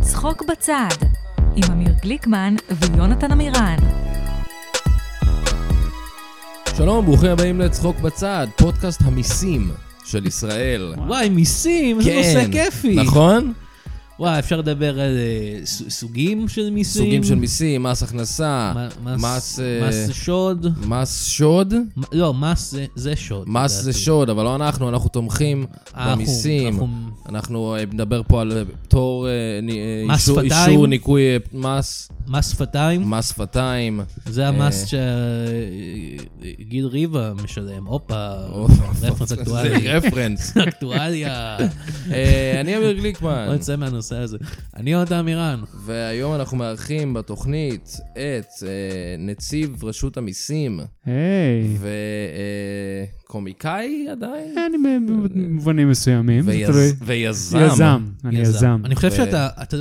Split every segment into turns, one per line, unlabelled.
צחוק בצד, עם אמיר גליקמן ויונתן עמירן.
שלום, ברוכים הבאים לצחוק בצד, פודקאסט המיסים של ישראל.
וואי, מיסים, זה
כן,
נושא כיפי.
נכון?
וואי, אפשר לדבר על אה, ס- סוגים של מיסים?
סוגים של מיסים, מס הכנסה,
מ-
מס,
מס
אה,
מס שוד.
מס שוד.
מ- לא, מס זה- זה שוד.
מס זה
לדעתי.
שוד, אבל לא אנחנו, אנחנו תומכים
אנחנו-
במיסים.
אנחנו-
אנחנו אה, נדבר פה על אה, פטור, אה, נ- אה,
מס
אישור-
שפתיים.
אישור ניכוי אה, מס,
מס שפתיים,
מס שפתיים.
זה
אה.
המס שגיל ריבה משלם. הופה, רפרנס אקטואלי.
זה רפרנס.
אקטואליה.
אה, אני אמיר גליקמן.
בוא נצא מהנושא הזה. אני עוד אמירן.
והיום אנחנו מארחים בתוכנית את אה, נציב רשות המיסים
היי,
וקומיקאי עדיין,
אני במובנים מסוימים, זה
ויז-
תלוי.
ויזם.
יזם, אני יזם.
אני חושב
ו-
שאתה... אתה-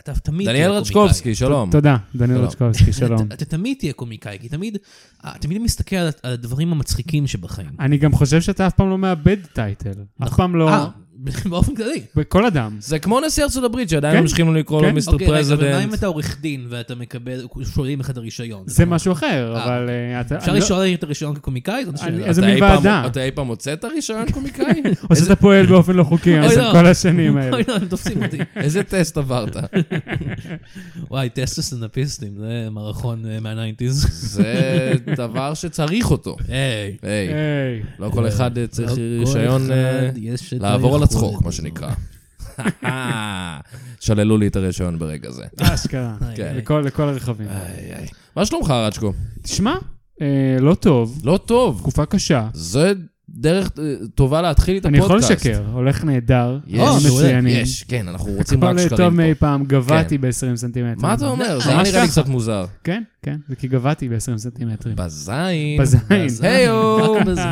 אתה תמיד...
דניאל
תהיה
רצ'קובסקי, שלום.
תודה, דניאל
שלום.
רצ'קובסקי, שלום.
אתה, אתה תמיד תהיה קומיקאי, כי תמיד, אה, תמיד מסתכל על, על הדברים המצחיקים שבחיים.
אני גם חושב שאתה אף פעם לא מאבד טייטל. אף פעם לא,
אה, באופן כללי.
בכל אדם.
זה כמו נשיא ארצות הברית, שעדיין
כן,
ממשיכים לו לקרוא לו
כן.
מיסטר
אוקיי, רגע, אבל מה אם
פרזידנט.
אתה עורך דין ואתה מקבל, שוללים לך את הרישיון?
זה משהו אחר,
אה.
אבל אה, אתה...
אפשר
אני לא-
לשאול את הרישיון כקומיקאי? זאת
אני-
שאלה.
איזה
אתה
מין
אי פעם-
ועדה?
אתה אי פעם מוצא את הרישיון קומיקאי?
או שאתה פועל באופן לא חוקי
אוי,
אז
לא.
כל השנים האלה.
אוי, לא, הם תופסים אותי.
איזה טסט עברת?
וואי, טסט הסטנדאפיסטים, זה מערכון אה, מהניינטיז.
זה דבר שצריך אותו.
היי.
היי,
היי,
לא כל אחד אה, צריך
לא כל
רישיון אה,
אחד יש את
לעבור על
היכולת
הצחוק, מה
הזו.
שנקרא. שללו לי את הרישיון ברגע זה.
אשכרה.
היי,
כן.
היי.
לכל לכל הרכבים.
היי, היי.
מה שלומך, רצ'קו?
תשמע, אה, לא טוב,
לא טוב.
תקופה קשה.
זו דרך אה, טובה להתחיל את
אני
הפודקאסט.
יכול לשקר, הולך נהדר.
יש,
אני
מעולה,
מצוינים.
יש, כן, אנחנו רוצים רק
הכל טוב
שקרים
מאי
פה.
פעם, גבהתי ב-20 סנטימטר.
מה אתה אומר? זה היה
ממש
נראה לי
ככה.
קצת מוזר.
כן, כן, זה כי גבהתי ב-20 סנטימטרים.
בזין.
בזין.
היו.
רק בזין.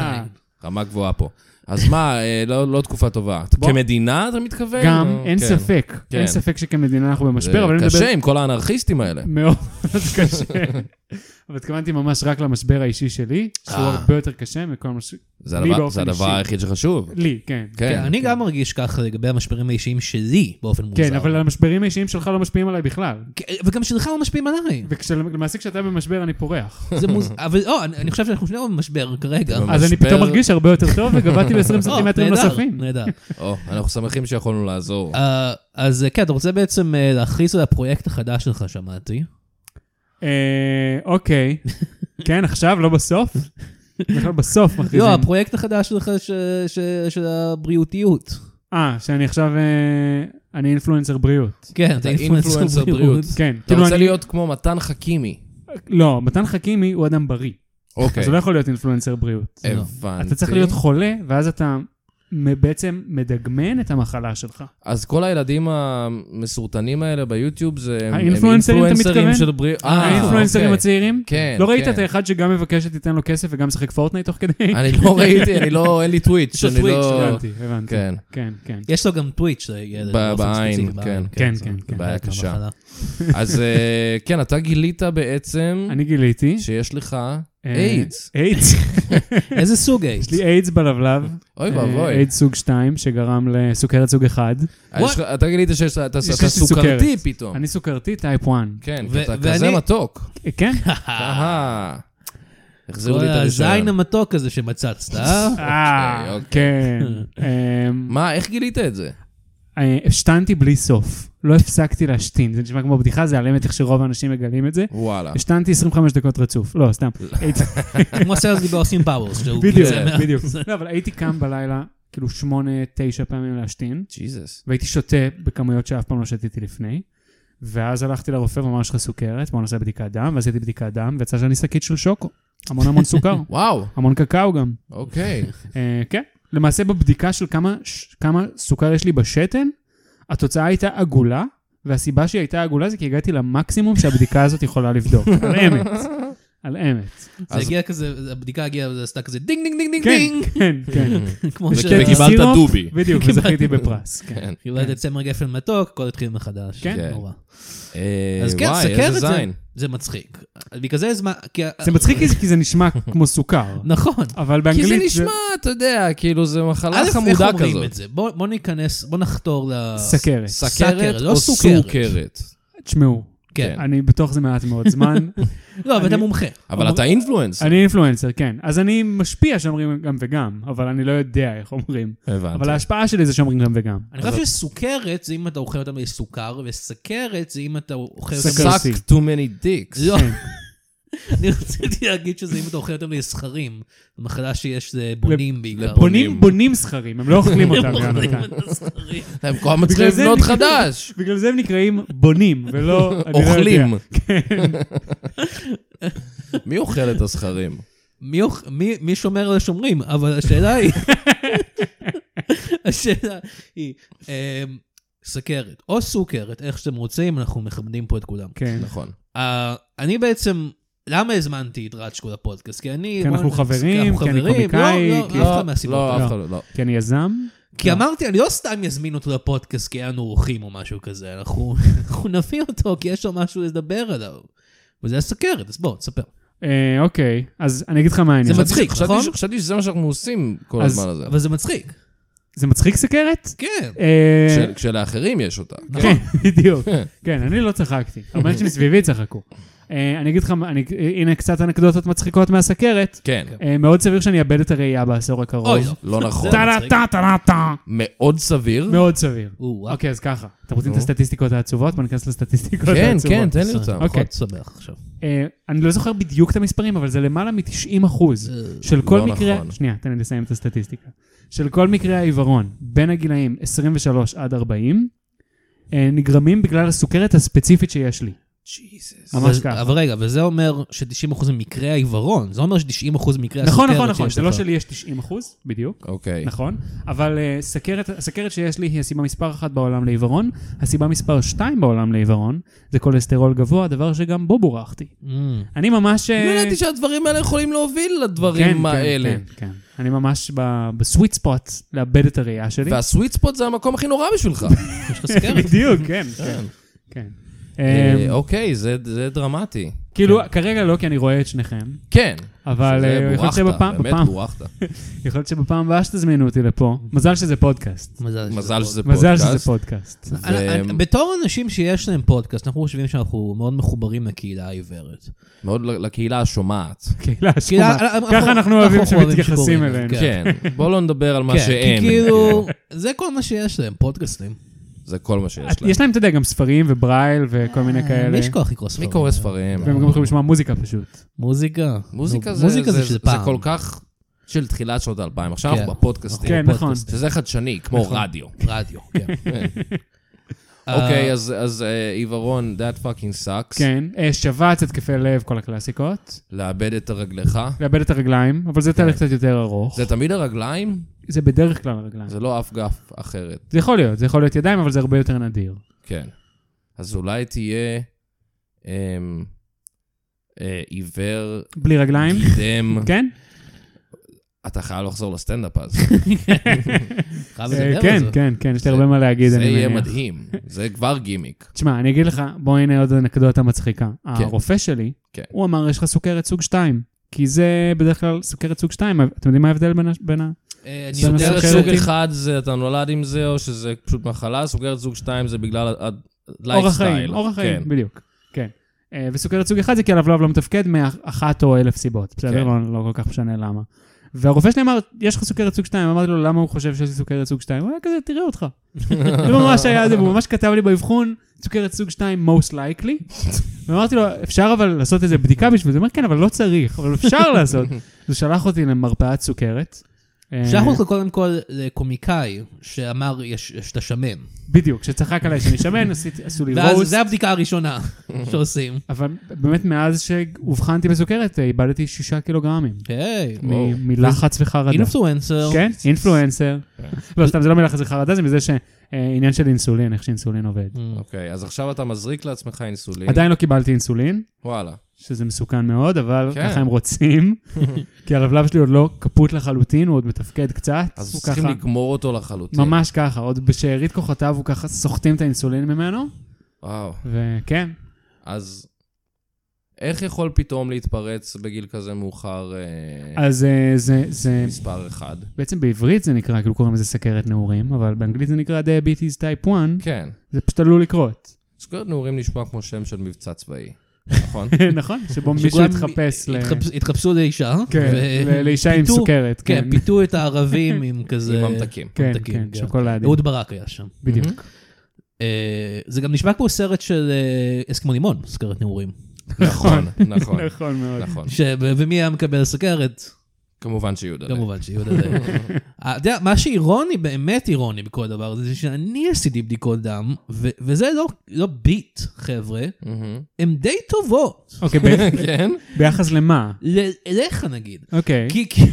רמה גבוהה פה. אז מה, אה, לא לא תקופה טובה.
בוא.
כמדינה אתה מתכוון?
גם
או-
אין
כן.
ספק,
כן.
אין ספק שכמדינה אנחנו
זה
במשבר, אבל אני
קשה
מדבר...
עם כל האנרכיסטים האלה.
מאוד קשה. אבל התכוונתי ממש רק למשבר האישי שלי, שהוא
אה.
הרבה יותר קשה מכל מה ש...
זה
לי
הדבר-
באופן
זה הדבר
אישי.
היחיד שחשוב.
לי, כן.
כן,
כן.
אני גם מרגיש ככה לגבי המשברים האישיים שלי באופן מוזר.
כן, אבל המשברים האישיים שלך לא משפיעים עליי בכלל.
כן, וגם שלך לא משפיעים עליי.
ולמעשה כשאתה במשבר אני פורח.
זה מוז... אבל לא, אני, אני חושב שאנחנו שנינו במשבר כרגע.
במשבר.
אז אני פתאום מרגיש הרבה יותר טוב, וגבהתי ב-20
או,
אה,
סנטימטרים
נהדר,
נוספים.
נהדר.
או, אנחנו שמחים שיכולנו לעזור.
אה, אז אה, כן, אתה רוצה בעצם אה, להכריז על הפרויקט החדש שלך, שמעתי.
אה, אוקיי. כן, עכשיו, לא בסוף? בכלל בסוף מכריזים.
לא, הפרויקט החדש שלך ש- ש- של הבריאותיות.
אה, שאני עכשיו... אה, אני אינפלואנסר בריאות.
כן, אתה
אינפלואנסר
אינפלואנסר
בריאות.
בריאות.
כן.
אתה
כאילו
רוצה
אני-
להיות כמו מתן חכימי.
לא, מתן חכימי הוא אדם בריא.
אוקיי,
אז הוא לא יכול להיות אינפלואנסר בריאות.
לא.
הבנתי.
אתה צריך להיות חולה, ואז אתה מ- בעצם מדגמן את המחלה שלך.
אז כל הילדים המסורתנים האלה ביוטיוב זה... הם- הם
האינפלואנסרים, אתה
אינפלואנסרים
מתכוון?
של בריאות.
אה,
אה, האינפלואנסרים הצעירים?
כן,
לא ראית
כן.
את האחד שגם מבקש שתיתן לו כסף וגם משחק פורטנייט תוך כדי?
אני לא ראיתי, אני לא, אין לי טוויץ',
יש לו
אני
טוויץ',
לא...
הבנתי, הבנתי.
כן.
כן, כן.
יש לו גם טוויץ' לילד.
ב-
באופן
בעין,
ספציפי,
כן.
כן,
זה-
כן,
זה
כן.
חלק
בעיה קשה.
מהמחלה.
אז אה, כן, אתה גילית בעצם
אני גיליתי.
שיש לך
אה,
איידס.
איידס.
איזה סוג איידס?
יש לי איידס בלבלב.
אוי
אה,
ואבוי.
איידס סוג 2, שגרם לסוכרת סוג 1.
אה, יש לך- אתה גילית שיש לך, אתה
יש
אתה
לי
סוכרתי
סוכרת.
פתאום.
אני סוכרתי טייפ 1.
כן,
ו-
כי אתה
ואני-
כזה מתוק.
אה, כן?
אהה. החזירו לי
כל
את הרישיון.
הזין המתוק הזה שמצצת, אה?
אה,
אוקיי.
כן. אמ,
מה, איך גילית את זה?
אה, השתנתי בלי סוף. לא הפסקתי להשתין. זה נשמע כמו בדיחה, זה על אמת איך שרוב האנשים מגלים את זה.
וואלה.
השתנתי 25 דקות רצוף. לא, סתם. הייתי-
כמו הסרט הזה באוסטין פאוורס. שהוא-
בדיוק,
זה-
בדיוק. לא, אבל הייתי קם בלילה, כאילו שמונה, תשע פעמים להשתין,
ג'יזוס.
והייתי שותה בכמויות שאף פעם לא שתיתי לפני. ואז הלכתי לרופא ואמר יש לך סוכרת, בוא נעשה בדיקת דם, ואז עשיתי בדיקת דם, ויצא שאני שקית של שוקו. המון המון סוכר.
וואו,
המון קקאו גם.
אוקיי.
אה, כן. למעשה בבדיקה של כמה, ש, כמה סוכר יש לי בשתן, התוצאה הייתה עגולה, והסיבה שהיא הייתה עגולה זה כי הגעתי למקסימום שהבדיקה הזאת יכולה לבדוק, על אמת. על אמת.
זה הגיע כזה, הבדיקה הגיעה, זה עשתה כזה דינג דינג דינג דינג
כן,
דינג,
כן, כן.
כמו ש...
כן,
וקיבלת
סירופ,
דובי.
בדיוק, וזכיתי בפרס. כן.
כן.
יולדת צמר גפן מתוק, הכל התחיל מחדש.
כן.
כן.
נורא.
אה,
אז כן,
וואי,
סכר
איזה
את זה,
זין.
זה מצחיק. בגלל זה זמן... כי ה-
זה מצחיק כי זה- כי זה נשמע כמו סוכר,
נכון.
אבל
כי
באנגלית...
זה נשמע, אתה יודע, כאילו זה מחלה
א', איך
חמודה
אומרים
כזאת.
את זה? בוא בוא ניכנס, בוא נחתור ל...
סכרת.
סכרת
לא
או
סוכרת.
סוכרת.
תשמעו,
כן.
אני בתוך זה מעט מאוד זמן.
כן.
לא, אבל אתה
אני-
מומחה.
אבל אתה אינפלואנס.
אני אינפלואנסר, כן. אז אני משפיע שאומרים גם וגם, אבל אני לא יודע איך אומרים. אבל
הבנתי.
ההשפעה שלי זה שאומרים גם וגם.
אני חושב שסוכרת זה אם אתה אוכל אותם לסוכר, וסכרת זה אם אתה אוכל אותם...
סכר-
Suck too many dicks.
לא,
כן.
אני רציתי להגיד שזה אם אתה אוכל אותם לסכרים. זו מחלה שיש זה בונים בעיקר.
לבונים.
בונים בונים סכרים, הם לא אוכלים אותם כן. גם
אוכלים
כאן.
את הסכרים.
הם כל הזמן צריכים
בגלל זה
לבנות
לא
אני-
חדש.
בגלל זה הם נקראים בונים, ולא... אני לא יודע.
אוכלים.
כן.
מי אוכל את הזכרים?
מי אוכ- מי- מי שומר על השומרים? אבל השאלה היא... השאלה היא... אמ, סכרת, או סוכרת, איך שאתם רוצים, אנחנו מכבדים פה את כולם.
כן,
נכון.
Uh, אני בעצם, למה הזמנתי את רצ'קו לפודקאסט? כי אני...
כי
בוא
אנחנו
נס-
חברים,
אנחנו
כי אני
חברים.
קומיקאי,
לא, לא,
כי-
אף אחד מהסיבות.
לא,
לא.
אף אחד לא.
כי אני יזם.
כי
לא.
אמרתי, אני לא סתם יזמין אותו לפודקאסט כי היינו אורחים או משהו כזה, אנחנו אנחנו נביא אותו כי יש לו משהו לדבר עליו. וזה הסכרת, אז בוא, תספר.
אה, אוקיי, אז אני אגיד לך מה העניין.
זה מצחיק,
לא. חשבתי
נכון?
ש- חשבתי שזה מה שאנחנו עושים כל
אז-
הזמן הזה.
אבל זה מצחיק.
זה מצחיק סכרת?
כן. נכון.
אה,
של- כשלאחרים יש אותה.
כן, בדיוק. כן, אני לא צחקתי, אבל אנשים סביבי צחקו. אה, אני אגיד לך, מה- אני- הנה קצת אנקדוטות מצחיקות מהסכרת.
כן.
אה, מאוד סביר שאני אאבד את הראייה בעשור הקרוב.
אוי, לא.
לא נכון.
זה-
טה טה טה טה
מאוד סביר.
מאוד סביר.
או,
אוקיי, אז ככה, אתם רוצים את
נו.
הסטטיסטיקות העצובות? בוא ניכנס לסטטיסטיקות
כן,
העצובות.
כן,
נכון,
תן לי אותם.
אוקיי.
פחות שמח עכשיו.
אה, אני לא זוכר בדיוק את המספרים, אבל זה למעלה מ-90 אחוז של כל
לא
מקרה...
נכון.
שנייה, תן לי לסיים את הסטטיסטיקה. של כל מקרי העיוורון, בין הגילאים 23 עד 40, אה, נגרמים בגלל הסוכרת הספציפית שיש לי.
ג'יזוס.
ממש
אבל-
ככה.
אבל רגע, וזה אומר ש-90% ממקרי העיוורון, זה אומר ש-90% ממקרי הסוכרת
נכון, נכון, נכון,
שיש
זה לא
לך.
שלי יש 90 אחוז, בדיוק.
אוקיי.
נכון, אבל אה, סכרת, הסכרת שיש לי היא הסיבה מספר אחת בעולם לעיוורון, הסיבה מספר שתיים בעולם לעיוורון זה כולסטרול גבוה, דבר שגם בו בורחתי.
אמ.
אני ממש... אה,
לא ידעתי שהדברים האלה יכולים להוביל לדברים האלה.
כן, כן. אני ממש בסוויט ספוט לאבד את הראייה שלי.
כן. והסוויט ספוט זה המקום הכי נורא בשבילך.
יש לך סכרת?
בדיוק, כן, כן. כן.
אה,
אה,
אוקיי, זה- זה דרמטי.
כאילו, כרגע לא, כי אני רואה את שניכם,
כן.
אבל
שזה
אה, יכול להיות
בורחת,
שבפעם-
באמת
בפעם-
בורחת.
יכול להיות שבפעם הבאה שתזמינו אותי לפה, מזל שזה פודקאסט.
מזל שזה פודקאסט.
מזל שזה פודקאסט.
אני- אני-
ו-
בתור אנשים שיש להם פודקאסט, אנחנו חושבים שאנחנו מאוד מחוברים לקהילה העיוורת.
מאוד ל- לקהילה השומעת.
קהילה
קהילה-
השכונה.
אנחנו-
ככה אנחנו אוהבים
אנחנו אוהבים
שמתייחסים
שקוראים,
אלינו.
כן.
כן, בוא לא נדבר על מה
כן,
שאין.
כי כאילו, זה כל מה שיש להם, פודקאסטים.
זה כל מה שיש להם.
יש להם, אתה יודע, גם ספרים וברייל וכל מיני כאלה.
מי יש כוח לקרוא ספרים?
מי קורא ספרים?
והם גם יכולים לשמוע מוזיקה פשוט.
מוזיקה.
מוזיקה
נו,
זה
מוזיקה
זה-
זה שזה
זה
פעם.
כל כך של תחילת שנות האלפיים. עכשיו
כן.
אנחנו בפודקאסטים.
כן, נכון. אה.
פודקאסט.
שזה חדשני, כמו
נכון.
רדיו.
רדיו, כן.
אוקיי,
אה,
אז אז, אה, עיוורון, that fucking sucks.
כן. אה, שבץ, התקפי לב, כל הקלאסיקות.
לאבד את הרגלך.
לאבד את הרגליים, אבל זה תהליך קצת יותר ארוך.
זה תמיד הרגליים?
זה בדרך כלל הרגליים.
זה לא אף גף אחרת.
זה יכול להיות, זה יכול להיות ידיים, אבל זה הרבה יותר נדיר.
כן. אז אולי תהיה אמ, אה, עיוור,
בלי רגליים?
דם.
כן?
אתה חייב לחזור לסטנדאפ אז.
חייב
אה,
לדבר
כן,
על זה.
כן, כן, יש לי
זה-
הרבה מה להגיד,
זה
אני מניח.
יהיה מדהים. זה כבר גימיק.
תשמע, אני אגיד לך, בוא הנה עוד אנקדוטה מצחיקה. הרופא שלי,
כן.
הוא אמר, יש לך סוכרת סוג 2. כי זה בדרך כלל סוכרת סוג 2, אתם יודעים מה ההבדל בין ה- בין ה...
אה, אני
זה
יודע
סוכרת
מסוכרת
שזה-
סוג
אותי.
אחד זה אתה נולד עם זה, או שזה פשוט מחלה, סוכרת סוג שתיים זה בגלל הלייפסטייל.
אורח חיים, אורח חיים, בדיוק. כן. אה, וסוכרת סוג 1 זה כי הלבלב לא מתפקד מאחת או אלף סיבות. בסדר?
כן.
לא לא כל כך משנה למה. והרופא שלי אמר, יש לך סוכרת סוג 2, אמרתי לו, למה הוא חושב שיש לי סוכרת סוג 2? הוא היה כזה, תראה אותך. זה לא ממש היה זה, והוא ממש כתב לי באבחון, סוכרת סוג 2, most likely. ואמרתי לו, אפשר אבל לעשות איזה בדיקה בשביל זה? הוא אומר, כן, אבל לא צריך, אבל אפשר לעשות. אז הוא שלח אותי למרפאת סוכרת. אה,
שלח אותך קודם כל לקומיקאי שאמר יש- שאתה שמן.
בדיוק, שצחק עליי שאני שמן, עשיתי- עשו לי
ואז
רוסט.
זה הבדיקה הראשונה שעושים.
אבל באמת מאז שאובחנתי בסוכרת, אה, איבדתי שישה קילוגרמים.
היי,
מ-
וואו.
מלחץ וחרדה.
אינפלואנסר.
כן, אינפלואנסר.
כן.
לא, סתם, זה לא מלחץ וחרדה, זה מזה שעניין של אינסולין, איך שאינסולין עובד.
Mm.
אוקיי, אז עכשיו אתה מזריק לעצמך אינסולין.
עדיין לא קיבלתי אינסולין,
וואלה.
שזה מסוכן מאוד, אבל
כן.
ככה הם רוצים, כי הרבלב שלי עוד לא כפות לחלוטין, הוא עוד מתפקד קצת.
אז
הוא
צריכים
ככה-
לגמור אותו לחלוטין.
ממש ככה, עוד בשארית כוחותיו הוא ככה סוחטים את האינסולין ממנו,
וואו. כן.
וכן,
אז איך יכול פתאום להתפרץ בגיל כזה מאוחר אה,
אז אה, זה, זה,
מספר אחד?
בעצם בעברית זה נקרא, כאילו קוראים לזה סכרת נעורים, אבל באנגלית זה נקרא diabetes type 1,
כן.
זה פשוט עלול לקרות,
סוכרת נעורים נשמע כמו שם של מבצע צבאי, נכון?
נכון? שבו מישהו
שכולם
יתחפש ל...
התחפש- התחפשו לאישה.
כן,
ו-
ל- לאישה עם
פיתו-
סוכרת,
כן,
כן,
פיתו את הערבים עם כזה...
עם ממתקים.
כן,
ממתקים,
כן,
כן.
שוקולדים,
אהוד ברק היה שם.
בדיוק.
אה, זה גם נשמע כמו סרט של אה, אסקימו לימון, סוכרת נעורים.
נכון, נכון,
נכון מאוד.
נכון.
ש- ו- ומי היה מקבל סוכרת?
לא
כמובן שיהודה. די.
כמובן שיהודה די. אה, אתה יודע, מה שאירוני, באמת אירוני בכל הדבר הזה, זה שאני עשיתי בדיקות דם, ו- וזה לא- לא ביט, חבר'ה,
מהמם.
הן די טובות.
אוקיי, ב-
כן?
ביחס למה?
ל- אליך נגיד.
אוקיי.
כי כאילו,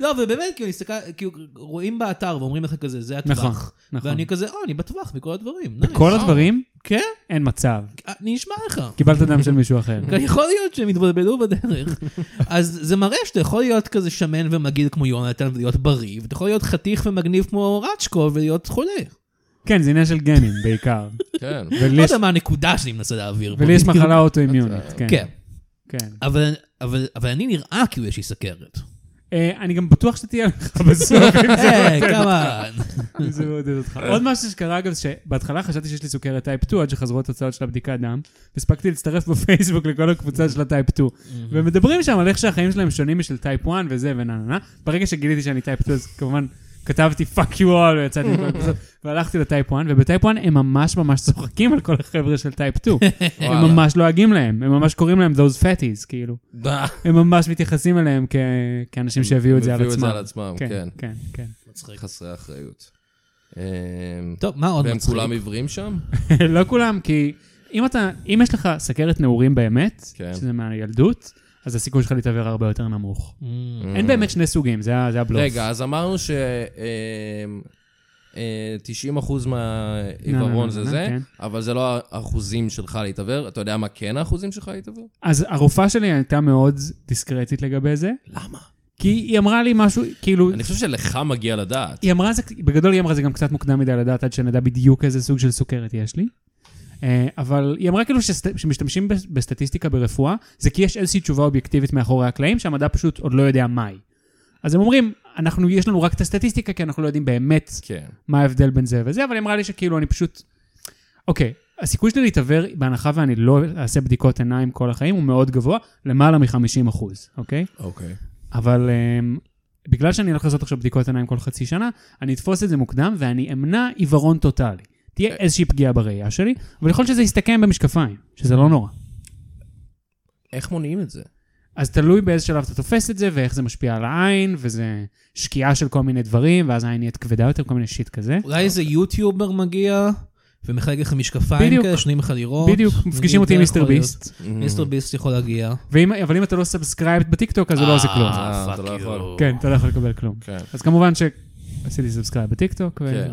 לא, ובאמת, כאילו, הסתכל, כאילו, רואים באתר ואומרים לך כזה, זה הטווח.
נכון, נכון.
ואני כזה, או, אני בטווח מכל הדברים. נייס."
כל הדברים,
כן,
אין מצב.
אני אשמע לך.
קיבלת דם של מישהו אחר.
גם יכול להיות שהם יתבלבלו בדרך. אז זה מראה שאתה יכול להיות כזה שמן ומגעיל כמו יונתן ולהיות בריא, ואתה יכול להיות חתיך ומגניב כמו רצ'קו ולהיות חולה.
כן, זה עניין של גנים בעיקר.
כן.
ולי
לא
יש-
יודע מה הנקודה שאני מנסה להעביר. פה.
ולי יש מחלה אוטואימיונית, כן.
כן,
כן.
אבל- אבל אבל אני נראה כאילו יש לי סכרת.
אה, אני גם בטוח שתהיה לך בסוף, אם זה
היי, כמה...
אם זה מעודד אותך.
אה.
עוד משהו שקרה, אגב, שבהתחלה חשבתי שיש לי סוכרת טייפ 2, עד שחזרו התוצאות של הבדיקת דם, הספקתי להצטרף בפייסבוק לכל הקבוצה של הטייפ 2. ומדברים שם על איך שהחיים שלהם שונים משל טייפ 1 וזה ונה נה נה. ברגע שגיליתי שאני טייפ 2, אז כמובן כתבתי fuck you all ויצאתי מכל הקבוצות, והלכתי לטייפ 1, ובטייפ 1 הם ממש ממש צוחקים על כל החבר'ה של טייפ 2. הם
וואלה.
ממש לועגים להם, הם ממש קוראים להם those fatties, כאילו.
דה.
הם ממש מתייחסים אליהם כ- כאנשים שהביאו את זה על
הביאו את זה
עצמם.
על עצמם, כן.
כן, כן.
מצחיק.
חסרי אחריות. אמ,
טוב, מה עוד
והם
מצחיק?
כולם עיוורים שם?
לא כולם, כי אם אתה, אם יש לך סכרת נעורים באמת,
כן.
שזה מהילדות, אז הסיכוי שלך להתעוור הרבה יותר נמוך.
Mm.
אין באמת שני סוגים, זה ה- זה הבלוף.
רגע, אז אמרנו ש... אמ, אה, 90%
נה, נה,
מהעיוורון
נה,
זה
נה,
זה,
כן.
אבל זה לא האחוזים שלך להתעוור. אתה יודע מה כן האחוזים שלך להתעוור?
אז הרופאה שלי הייתה מאוד דיסקרטית לגבי זה,
למה?
כי היא אמרה לי משהו, כאילו,
אני חושב שלך מגיע לדעת.
היא אמרה זה, בגדול היא אמרה זה גם קצת מוקדם מדי לדעת עד שנדע בדיוק איזה סוג של סוכרת יש לי. אה, אבל היא אמרה כאילו שמשתמשים בסטטיסטיקה ברפואה, זה כי יש איזושהי תשובה אובייקטיבית מאחורי הקלעים, שהמדע פשוט עוד לא יודע מהי. אז הם אומרים, אנחנו, יש לנו רק את הסטטיסטיקה, כי אנחנו לא יודעים באמת
כן.
מה ההבדל בין זה וזה, אבל היא אמרה לי שכאילו אני פשוט... אוקיי, הסיכוי שלי להתעוור, בהנחה ואני לא אעשה בדיקות עיניים כל החיים, הוא מאוד גבוה, למעלה מ-50 אחוז, אוקיי?
אוקיי.
אבל um, בגלל שאני הולך לעשות עכשיו בדיקות עיניים כל חצי שנה, אני אתפוס את זה מוקדם ואני אמנע עיוורון טוטאלי. תהיה איזושהי פגיעה בראייה שלי, אבל יכול להיות שזה יסתכם במשקפיים, שזה לא נורא.
איך מונעים את זה?
אז תלוי באיזה שלב אתה תופס את זה, ואיך זה משפיע על העין, וזה שקיעה של כל מיני דברים, ואז העין נהיית כבדה יותר, כל מיני שיט כזה.
אולי איזה יוטיובר מגיע ומחלק לך משקפיים
בדיוק.
כאלה, שניים לך לראות.
בדיוק,
אני
מפגישים אותי
יודע,
עם מיסטר
יכול להיות.
ביסט,
Mm-hmm.
מיסטר ביסט יכול להגיע.
ואם- אבל אם אתה לא סאבסקרייבד בטיקטוק, אז הוא לא עושה כלום.
אה,
fuck
אתה לא
you.
יכול.
כן, אתה לא יכול לקבל כלום.
כן.
אז כמובן שעשיתי סאבסקרייב בטיקטוק, ו-
כן.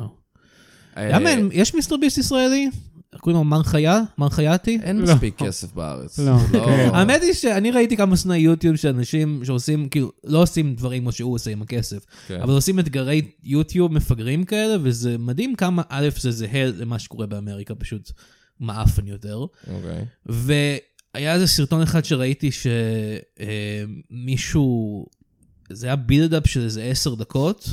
אה,
למה אין- יש מיסטר ביסט ישראלי? איך קוראים לו? מר חיה? מר חייתי? אה,
אין
לא.
מספיק כסף בארץ.
לא. כן.
האמת היא שאני ראיתי כמה סצני יוטיוב של אנשים שעושים, כאילו, לא עושים דברים כמו שהוא עושה עם הכסף,
כן.
אבל עושים אתגרי יוטיוב מפגרים כאלה, וזה מדהים כמה א' זה זהה למה שקורה באמריקה, פשוט מעפן יותר.
אוקיי.
והיה איזה סרטון אחד שראיתי שמישהו, זה היה בילדאפ של איזה עשר דקות,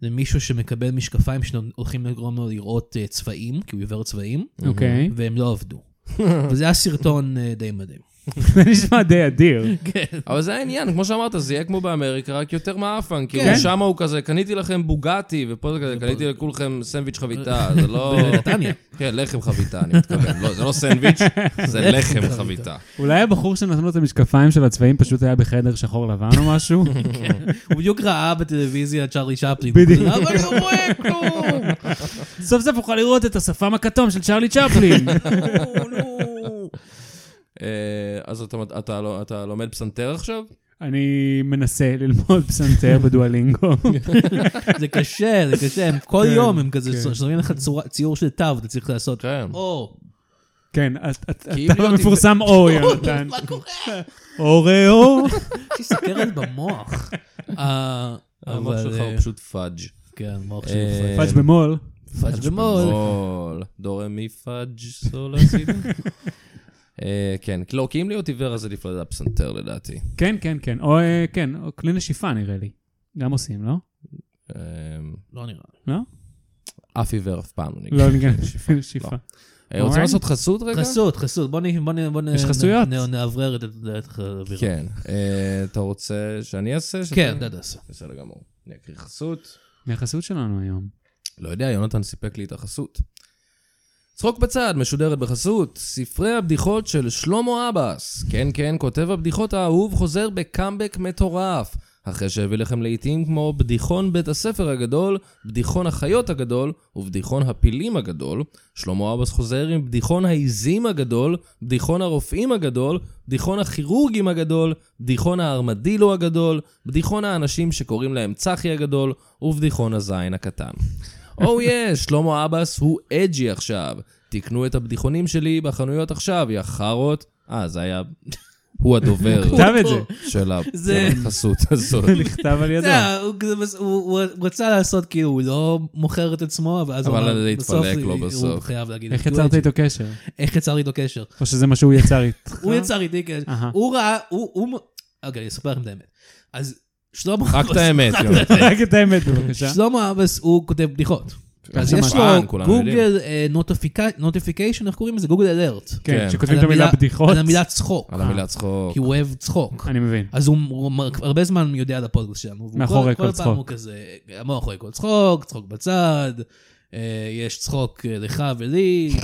זה מישהו שמקבל משקפיים שהולכים לגרום לו לראות אה, צבעים, כי הוא עיוור צבעים,
אוקיי.
והם לא עבדו. וזה היה סרטון אה, די מדהים.
זה נשמע די אדיר.
כן.
אבל זה העניין, כמו שאמרת, זה יהיה כמו באמריקה, רק יותר מעפן. כאילו,
כן.
שם הוא כזה, קניתי לכם בוגטי, ופה זה כזה, קניתי לכולכם סנדוויץ' חביתה, זה לא...
בנתניה.
כן, לחם חביתה, אני מתכוון. לא, זה לא סנדוויץ', זה לחם חביתה.
אולי הבחור שנתנו לו את המשקפיים של הצבעים פשוט היה בחדר שחור לבן או משהו?
הוא בדיוק ראה בטלוויזיה את צ'ארלי שפלין.
בדיוק.
אבל הוא לא רואה כלום.
סוף סוף אוכל לראות את השפם הכתום של צ'רלי צ'פלין.
נו, נו.
אה, אז אתה- אתה לא- אתה לומד פסנתר עכשיו?
אני מנסה ללמוד פסנתר בדואלינגו.
זה קשה, זה קשה. הם כל
כן,
יום הם כזה
כן.
שמים לך צורה- ציור של תו, אתה צריך לעשות.
כן.
או,
כן, את- את-
כאילו
אתה
לא
תבדוק-
המפורסם אור, יונתן.
מה קורה?
אור אה, אור.
יש לי סכרת במוח. אה,
המוח
אבל,
שלך
אה,
הוא פשוט פאג'.
כן, מוח
אה,
שלי.
פאג' במול.
פאג' במול.
במול. דורה מי פאג' סולסים. כן, לא, כי אם להיות עיוור אז עדיף לדעת פסנתר לדעתי.
כן, כן, כן. או אה, כן, או כלי נשיפה נראה לי. גם עושים, לא?
אה,
לא נראה. לי.
לא?
אף עיוור אף פעם לא נגיד.
לא, אני גם כלי נשיפה.
לא. אה, רוצים
אורן?
לעשות חסות רגע?
חסות, חסות. בוא נ- בוא נ- בוא נ-
יש חסויות?
נ- נאוורר את האוויר.
כן. אה, אתה רוצה שאני אעשה? שאתה-
כן, אתה תעשה.
בסדר גמור. אני אקריא חסות.
מהחסות שלנו היום.
לא יודע, יונתן סיפק לי את החסות. צחוק בצד, משודרת בחסות, ספרי הבדיחות של שלמה אבס. כן, כן, כותב הבדיחות האהוב חוזר בקאמבק מטורף. אחרי שהביא לכם לעיתים כמו בדיחון בית הספר הגדול, בדיחון החיות הגדול ובדיחון הפילים הגדול, שלמה אבס חוזר עם בדיחון העיזים הגדול, בדיחון הרופאים הגדול, בדיחון הכירורגים הגדול, בדיחון הארמדילו הגדול, בדיחון האנשים שקוראים להם צחי הגדול ובדיחון הזין הקטן. או יש, Oh שלמה אבס הוא אג'י עכשיו. תקנו את הבדיחונים שלי בחנויות עכשיו, יא חארות. אה, זה היה... הוא הדובר
כתב את זה.
של ה-
זה-
של החסות הזאת.
נכתב על ידו.
זה, הוא כזה- הוא הוא- הוא רצה לעשות כאילו, הוא לא מוכר את עצמו, ואז הוא
אבל
אמר,
זה
בסוף
התפלק לו
הוא
בסוף.
חייב להגיד,
איך
"Do
יצרת
it."
איתו קשר?
איך יצר איתו קשר?
או שזה מה שהוא יצר איתך?
הוא יצר איתי קשר.
אהה.
הוא ראה, הוא... הוא- אוקיי, אני אספר לכם את האמת. אז שלמה אבס...
רק את האמת, אה?
רק
יונתן.
רק את האמת, בבקשה.
שלמה אבס הוא כותב בדיחות. אז
שמעתי.
יש
אה,
לו
כולם
גוגל נוטיפיקיישן, איך קוראים לזה? גוגל אלרט.
כן,
כן.
שכותבים את המילה בדיחות.
על המילה צחוק.
על המילה צחוק.
כי הוא אוהב צחוק.
אני מבין.
אז הוא- הוא מ- הרבה זמן יודע על הפודקאסט שלנו. והוא
מאחורי כל
כל
צחוק.
פעם הוא כזה, מאחורי כל צחוק, צחוק בצד, אה, יש צחוק אה, לך ולי,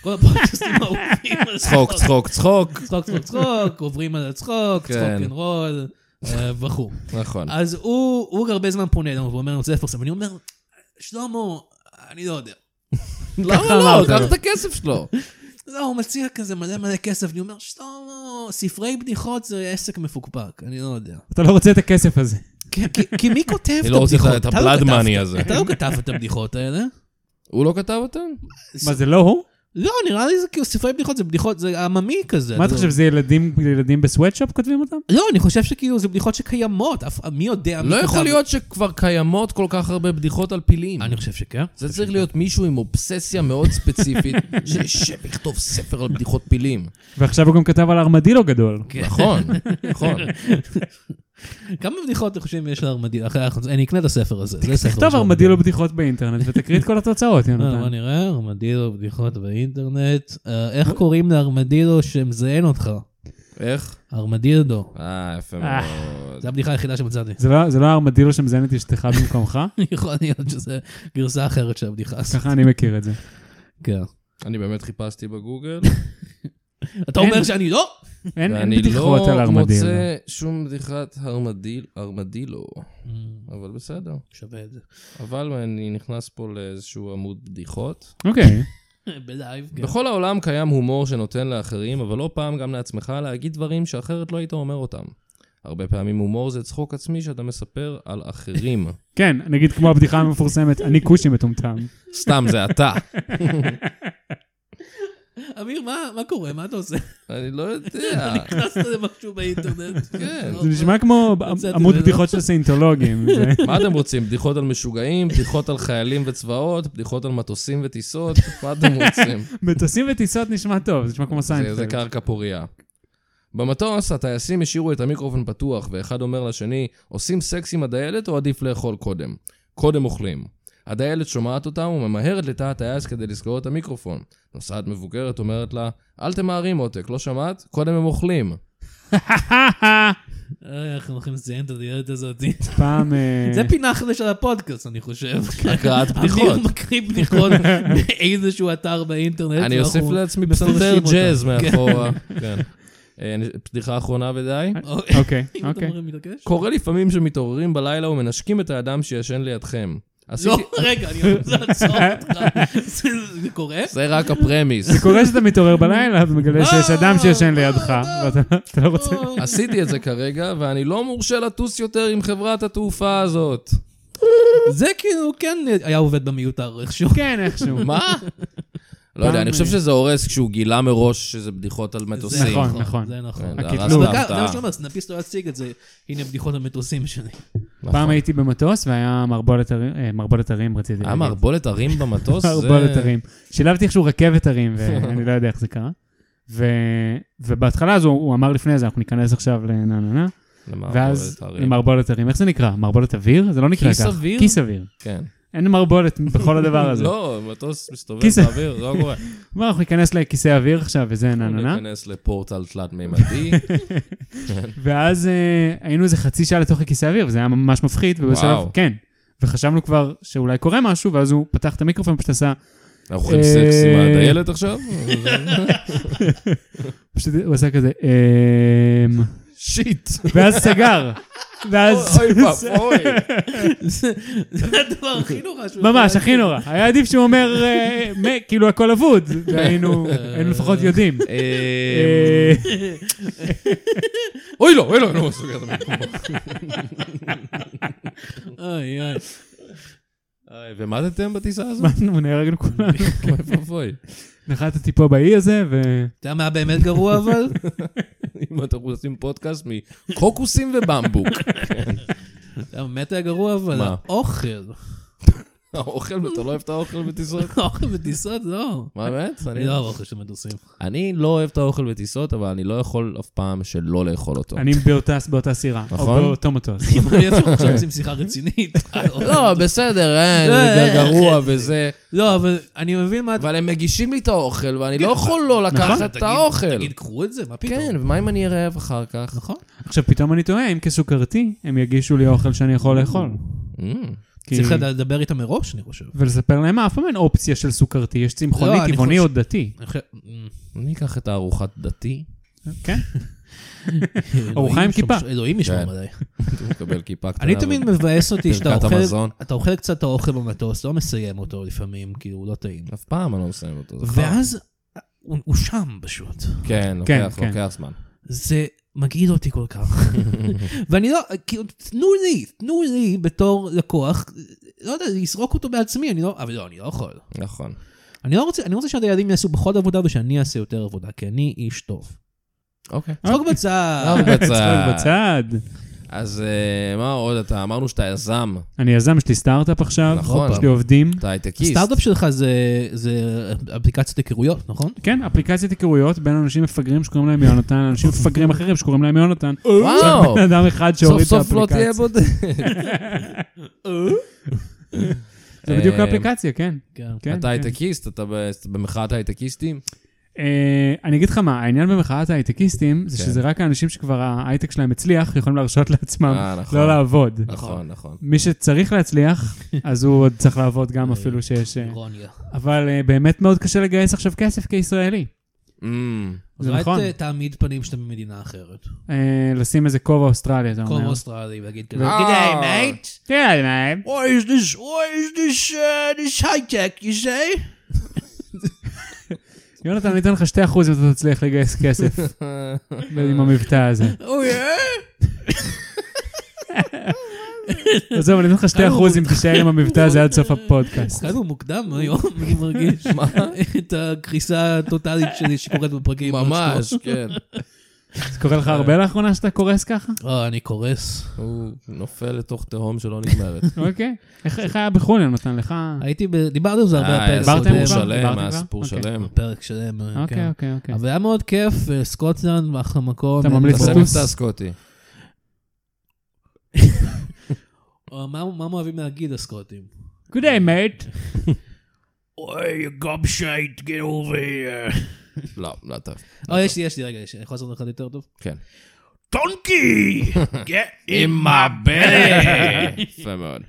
כל הפודקאסטים אהובים על
צחוק, צחוק, צחוק.
צחוק, צחוק, צחוק, עוברים על הצחוק, צחוק
כן.
אנד רול, אה, וכו'.
נכון.
אז הוא הוא הרבה זמן פונה אלינו ואומר, אני רוצה לפרסם, ואני אומר, שלמה, אני לא יודע.
למה
ככה
לא?
אמרת.
קח את הכסף שלו.
לא, הוא מציע כזה מלא מלא כסף, אני אומר, שלמה, ספרי בדיחות זה עסק מפוקפק, אני לא יודע.
אתה לא רוצה את הכסף הזה.
כי- כי- כי מי כותב את הבדיחות?
אני לא רוצה את ה- את
אתה לא
הבלאד
כתבת-
מאני הזה.
אתה לא כתב את הבדיחות האלה.
הוא לא כתב אותם?
מה, זה לא הוא?
לא, נראה לי זה כאילו ספרי בדיחות, זה בדיחות, זה עממי כזה.
מה אתה
זה-
חושב, זה ילדים- ילדים בסוואטשופ כותבים אותם?
לא, אני חושב שכאילו זה בדיחות שקיימות, אף- מי יודע מי
לא
כתב-
יכול להיות שכבר קיימות כל כך הרבה בדיחות על פילים.
אני חושב שכן.
זה צריך להיות מישהו עם אובססיה מאוד ספציפית, שישב ויכתוב ספר על בדיחות פילים.
ועכשיו הוא גם כתב על ארמדילו גדול.
כן.
נכון, נכון.
כמה בדיחות אתם חושבים יש לארמדילו? אחרי אנחנו- אני אקנה את הספר הזה. זה ספר
תכתוב
של
לא
ארמדילו בדיחות באינטרנט ותקריא את כל התוצאות,
אה, בוא
יונתן.
נראה, ארמדילו בדיחות באינטרנט. אה, איך קוראים לארמדילו שמזיין אותך?
איך?
ארמדילדו.
אה, יפה
אה.
מאוד.
זו הבדיחה היחידה שמצאתי.
זה לא- זה לא הארמדילו שמזיין את אשתך במקומך?
יכול להיות שזו גרסה אחרת של הבדיחה הזאת.
ככה אני מכיר את זה.
כן.
אני באמת חיפשתי בגוגל,
אתה
אין.
אומר שאני לא?
אין אין
ואני
בדיחות על
לא
ארמדילו.
מוצא שום בדיחת הרמדיל- ארמדילו, אבל בסדר.
Mm, שווה את זה.
אבל אני נכנס פה לאיזשהו עמוד בדיחות.
אוקיי.
בלייב, כן.
בכל העולם קיים הומור שנותן לאחרים, אבל לא פעם גם לעצמך להגיד דברים שאחרת לא היית אומר אותם. הרבה פעמים הומור זה צחוק עצמי שאתה מספר על אחרים.
כן, נגיד כמו הבדיחה המפורסמת, אני כושי מטומטם.
סתם, זה אתה.
אמיר, מה מה קורה? מה אתה עושה?
אני לא יודע.
נכנסת למשהו באינטרנט? לא
כן.
אוקיי. זה נשמע כמו
מצאתי
עמוד
ולא.
בדיחות של סיינטולוגים. זה-
מה אתם רוצים? בדיחות על משוגעים, בדיחות על חיילים וצבאות, בדיחות על מטוסים וטיסות? מה אתם רוצים?
מטוסים וטיסות נשמע טוב, זה נשמע כמו
זה, זה
סיינפלד.
קרקע פורייה. במטוס, הטייסים השאירו את המיקרופון פתוח, ואחד אומר לשני, עושים סקס עם הדיילת או עדיף לאכול קודם? קודם אוכלים. הדיילת שומעת אותם וממהרת לתא הטייס כדי לסגור את המיקרופון. נוסעת מבוגרת אומרת לה, אל תמהרי מותק, לא שמעת? קודם הם אוכלים.
אה, אנחנו הולכים לציין את הדיילת הזאת.
כן.
פעם... אה,
זה פינה חדשה לפודקאסט, אני חושב. כן.
הקראת בדיחות.
אמיר מקריא בדיחות מאיזשהו אתר באינטרנט.
אני
ואנחנו-
אוסיף לעצמי
מפרשים
פסנתר
אותה.
ג'אז
כן.
מאחורה. כן. אה, בדיחה אחרונה ודי.
אוקיי.
אוקיי,
אם אתה
אוקיי.
מרים מתעקש?
קורה לפעמים שמתעוררים בלילה ומנשקים את האדם שישן לידכם.
לא,
עשיתי...
רגע, אני רוצה לעצור אותך. זה- זה קורה?
זה רק הפרמיס.
זה קורה שאתה מתעורר בלילה ומגלה שיש אדם שישן לידך,
אה,
ואתה אתה לא רוצה...
עשיתי את זה כרגע, ואני לא מורשה לטוס יותר עם חברת התעופה הזאת.
זה כאילו כן היה עובד במיותר איכשהו.
כן, איכשהו.
מה? לא יודע,
פעם,
אני חושב
אה,
שזה הורס כשהוא גילה מראש שזה בדיחות על מטוסים.
נכון, נכון.
זה נכון.
כן, זה
הקטלוג.
הרס
אבל
את
ככה,
לא,
זה
ההפתעה.
מה שאומר, סנאפיסט לא יציג את זה. הנה בדיחות המטוסים שלי.
נכון.
פעם הייתי במטוס והיה מרבולת הרים, אה, מרבולת הרים רציתי
היה
להגיד.
מערבולת הרים במטוס? זה-
מרבולת הרים. שילבתי איכשהו רכבת הרים, ואני לא יודע איך זה קרה. ו... ובהתחלה אז הוא, הוא אמר לפני זה, אנחנו ניכנס עכשיו לנה נה נה,
למערבולת
ואז
הרים.
למערבולת הרים, איך זה נקרא? מערבולת אוויר? זה לא נקרא
כיס
כך.
אוויר?
כיס אוויר.
כן.
אין מרבולת בכל הדבר הזה.
לא, מטוס מסתובב
כיסא.
באוויר, לא קורה.
מה, אנחנו ניכנס לכיסא אוויר עכשיו, וזה נה נה נה.
ניכנס לפורטל תלת-מימדי.
ואז אה, היינו איזה חצי שעה לתוך הכיסא האוויר, וזה היה ממש מפחיד, ובשלב,
וואו.
כן. וחשבנו כבר שאולי קורה משהו, ואז הוא פתח את המיקרופון, פשוט עשה,
אנחנו אוכלים
אה,
סקס עם הדיילת עכשיו?
פשוט הוא עשה כזה, אמ...
שיט.
ואז סגר. ואז...
אוי ואבוי.
זה זה הדבר הכי נורא שהוא...
ממש,
יכול
הכי נורא. היה עדיף שהוא אומר, אה, מ- כאילו הכל אבוד, והיינו היינו לפחות יודעים.
אמ. אה,
אה,
אוי לא, אוי לא, לא סוגר את המיקרופון.
להגיד. אוי אוי.
אוי, ומדתם בטיסה הזו?
אנחנו נהרגנו כולנו.
אוי ואבוי.
נחתתי פה באי הזה, ו...
אתה יודע מה היה באמת גרוע אבל?
אם אתם עושים פודקאסט מקוקוסים ובמבוק.
אתה יודע מה באמת היה גרוע אבל?
מה?
האוכל.
האוכל, אתה לא אוהב את האוכל בטיסות?
האוכל בטיסות לא.
מה באמת? אני-
אני לא אוהב אוכל של מטוסים.
אני לא אוהב את האוכל בטיסות, אבל אני לא יכול אף פעם שלא לאכול אותו.
אני באותה- באותה סירה.
נכון.
או באותו מטוס.
אי אפשר עכשיו לשים שיחה רצינית.
לא, בסדר, אה,
אה,
זה גרוע וזה,
לא, אבל אני מבין מה... אתה-
אבל הם מגישים לי את האוכל, ואני לא יכול לא לקחת את
כן. נכון, תגיד-
האוכל.
תגיד, קחו את זה, מה פתאום?
כן, ומה אם אני אהיה רעב אחר כך?
נכון.
עכשיו, פתאום אני תוהה, אם כסוכרתי, הם יגישו לי אוכל שאני יכול לאכול.
אמ,
כי-
צריך לדבר איתם מראש, אני חושב.
ולספר להם, מה, אף פעם אין אופציה של סוכרתי, יש צמחוני,
לא, אני
טבעוני או
חושב-
דתי.
אני חושב- אמ,
אני אקח את הארוחת דתי,
כן?
אלוהים
ארוחה עם
ישמור-
כיפה.
אלוהים ישמור
כן.
עליי.
הוא מקבל כיפה קטנה.
אני תמיד מבאס אותי שאתה
ברכת
אוכל...
המזון.
אתה אוכל קצת את האוכל במטוס, לא מסיים אותו לפעמים, כאילו, הוא לא טעים.
אף פעם אני לא מסיים אותו. זה חרא.
ואז הוא הוא שם פשוט.
כן,
כן,
לוקח,
כן.
לוקח זמן.
זה מגעיל אותי כל כך. ואני לא, כאילו, תנו לי, תנו לי בתור לקוח, לא יודע, לסרוק אותו בעצמי, אני לא, אבל לא, אני לא יכול.
נכון.
אני לא רוצה, אני רוצה שהדיילים יעשו פחות עבודה ושאני אעשה יותר עבודה, כי אני איש טוב.
אוקיי.
אה, צחוק בצד.
צחוק בצד.
צחוק בצד.
אז אה, מה עוד אתה? אמרנו שאתה יזם,
אני יזם, יש לי סטארט-אפ עכשיו,
נכון.
יש לי עובדים.
אתה הייטקיסט.
הסטארט-אפ שלך זה- זה אפליקציית היכרויות, נכון?
כן, אפליקציית היכרויות בין אנשים מפגרים שקוראים להם יונתן, אנשים מפגרים אחרים שקוראים להם יונתן.
וואו!
בן אדם אחד
סוף
שהוריד את
סוף לא
האפליקציה.
תהיה בודד.
זה בדיוק האפליקציה, כן.
כן.
כן,
אה, אתה
כן.
הייטקיסט, אתה ב- במחאת הייטקיסטים?
אה, אני אגיד לך מה, העניין במחאת ההייטקיסטים, זה
כן.
שזה רק האנשים שכבר ההייטק שלהם הצליח, יכולים להרשות לעצמם
אה, נכון.
לא לעבוד.
נכון, נכון.
מי שצריך להצליח, אז הוא עוד צריך לעבוד גם אפילו שיש...
נכון.
אה,
אירוניה.
אבל אה, באמת מאוד קשה לגייס עכשיו כסף כישראלי.
אמ,
זה
אולי
נכון.
ת- לא אה, תעמיד פנים שאתה במדינה אחרת.
אה, לשים איזה כובע אוסטרלי, אתה אומר.
קום אוסטרלי ויגיד כזה,
אה.
ג'יי מייט.
כן, מה?
What is this, what is this, uh, this high-tech, you say?
יונתן, אני אתן לך 2% אם אתה תצליח לגייס כסף עם המבטא הזה.
Oh yeah?
עזוב, אני אתן לך 2% אם תישאר עם המבטא הזה עד סוף הפודקאסט.
קראנו מוקדם היום, אני מרגיש.
מה?
את הקריסה הטוטאלית שלי שקורית בפרקים.
ממש, כן.
זה קורה לך הרבה לאחרונה שאתה קורס ככה?
אה, אני קורס.
הוא נופל לתוך תהום שלא נגמרת.
אוקיי. איך איך היה בחו"ל, יונתן? לך...
הייתי ב... דיברנו על זה הרבה
אה, היה
בפרק.
דיברתם
סיפור
כבר?
שלם,
דיברתם
היה
כבר?
סיפור
אוקיי.
שלם.
פרק שלם. אה,
אוקיי,
כן.
אוקיי, אוקיי.
אבל היה מאוד כיף, אה, סקוטלנד, אחלה מקום.
אתה ממליץ
תעשה
לטוס?
מבטא סקוטי.
אה, מה מה הם אוהבים להגיד הסקוטים?
Good day, mate.
אוי, גוב שייט, get over here.
לא, לא טוב.
אה, יש לי, יש לי, רגע, יש- אני יכול לעשות אחד יותר טוב?
כן.
טונקי! get in my
יפה מאוד.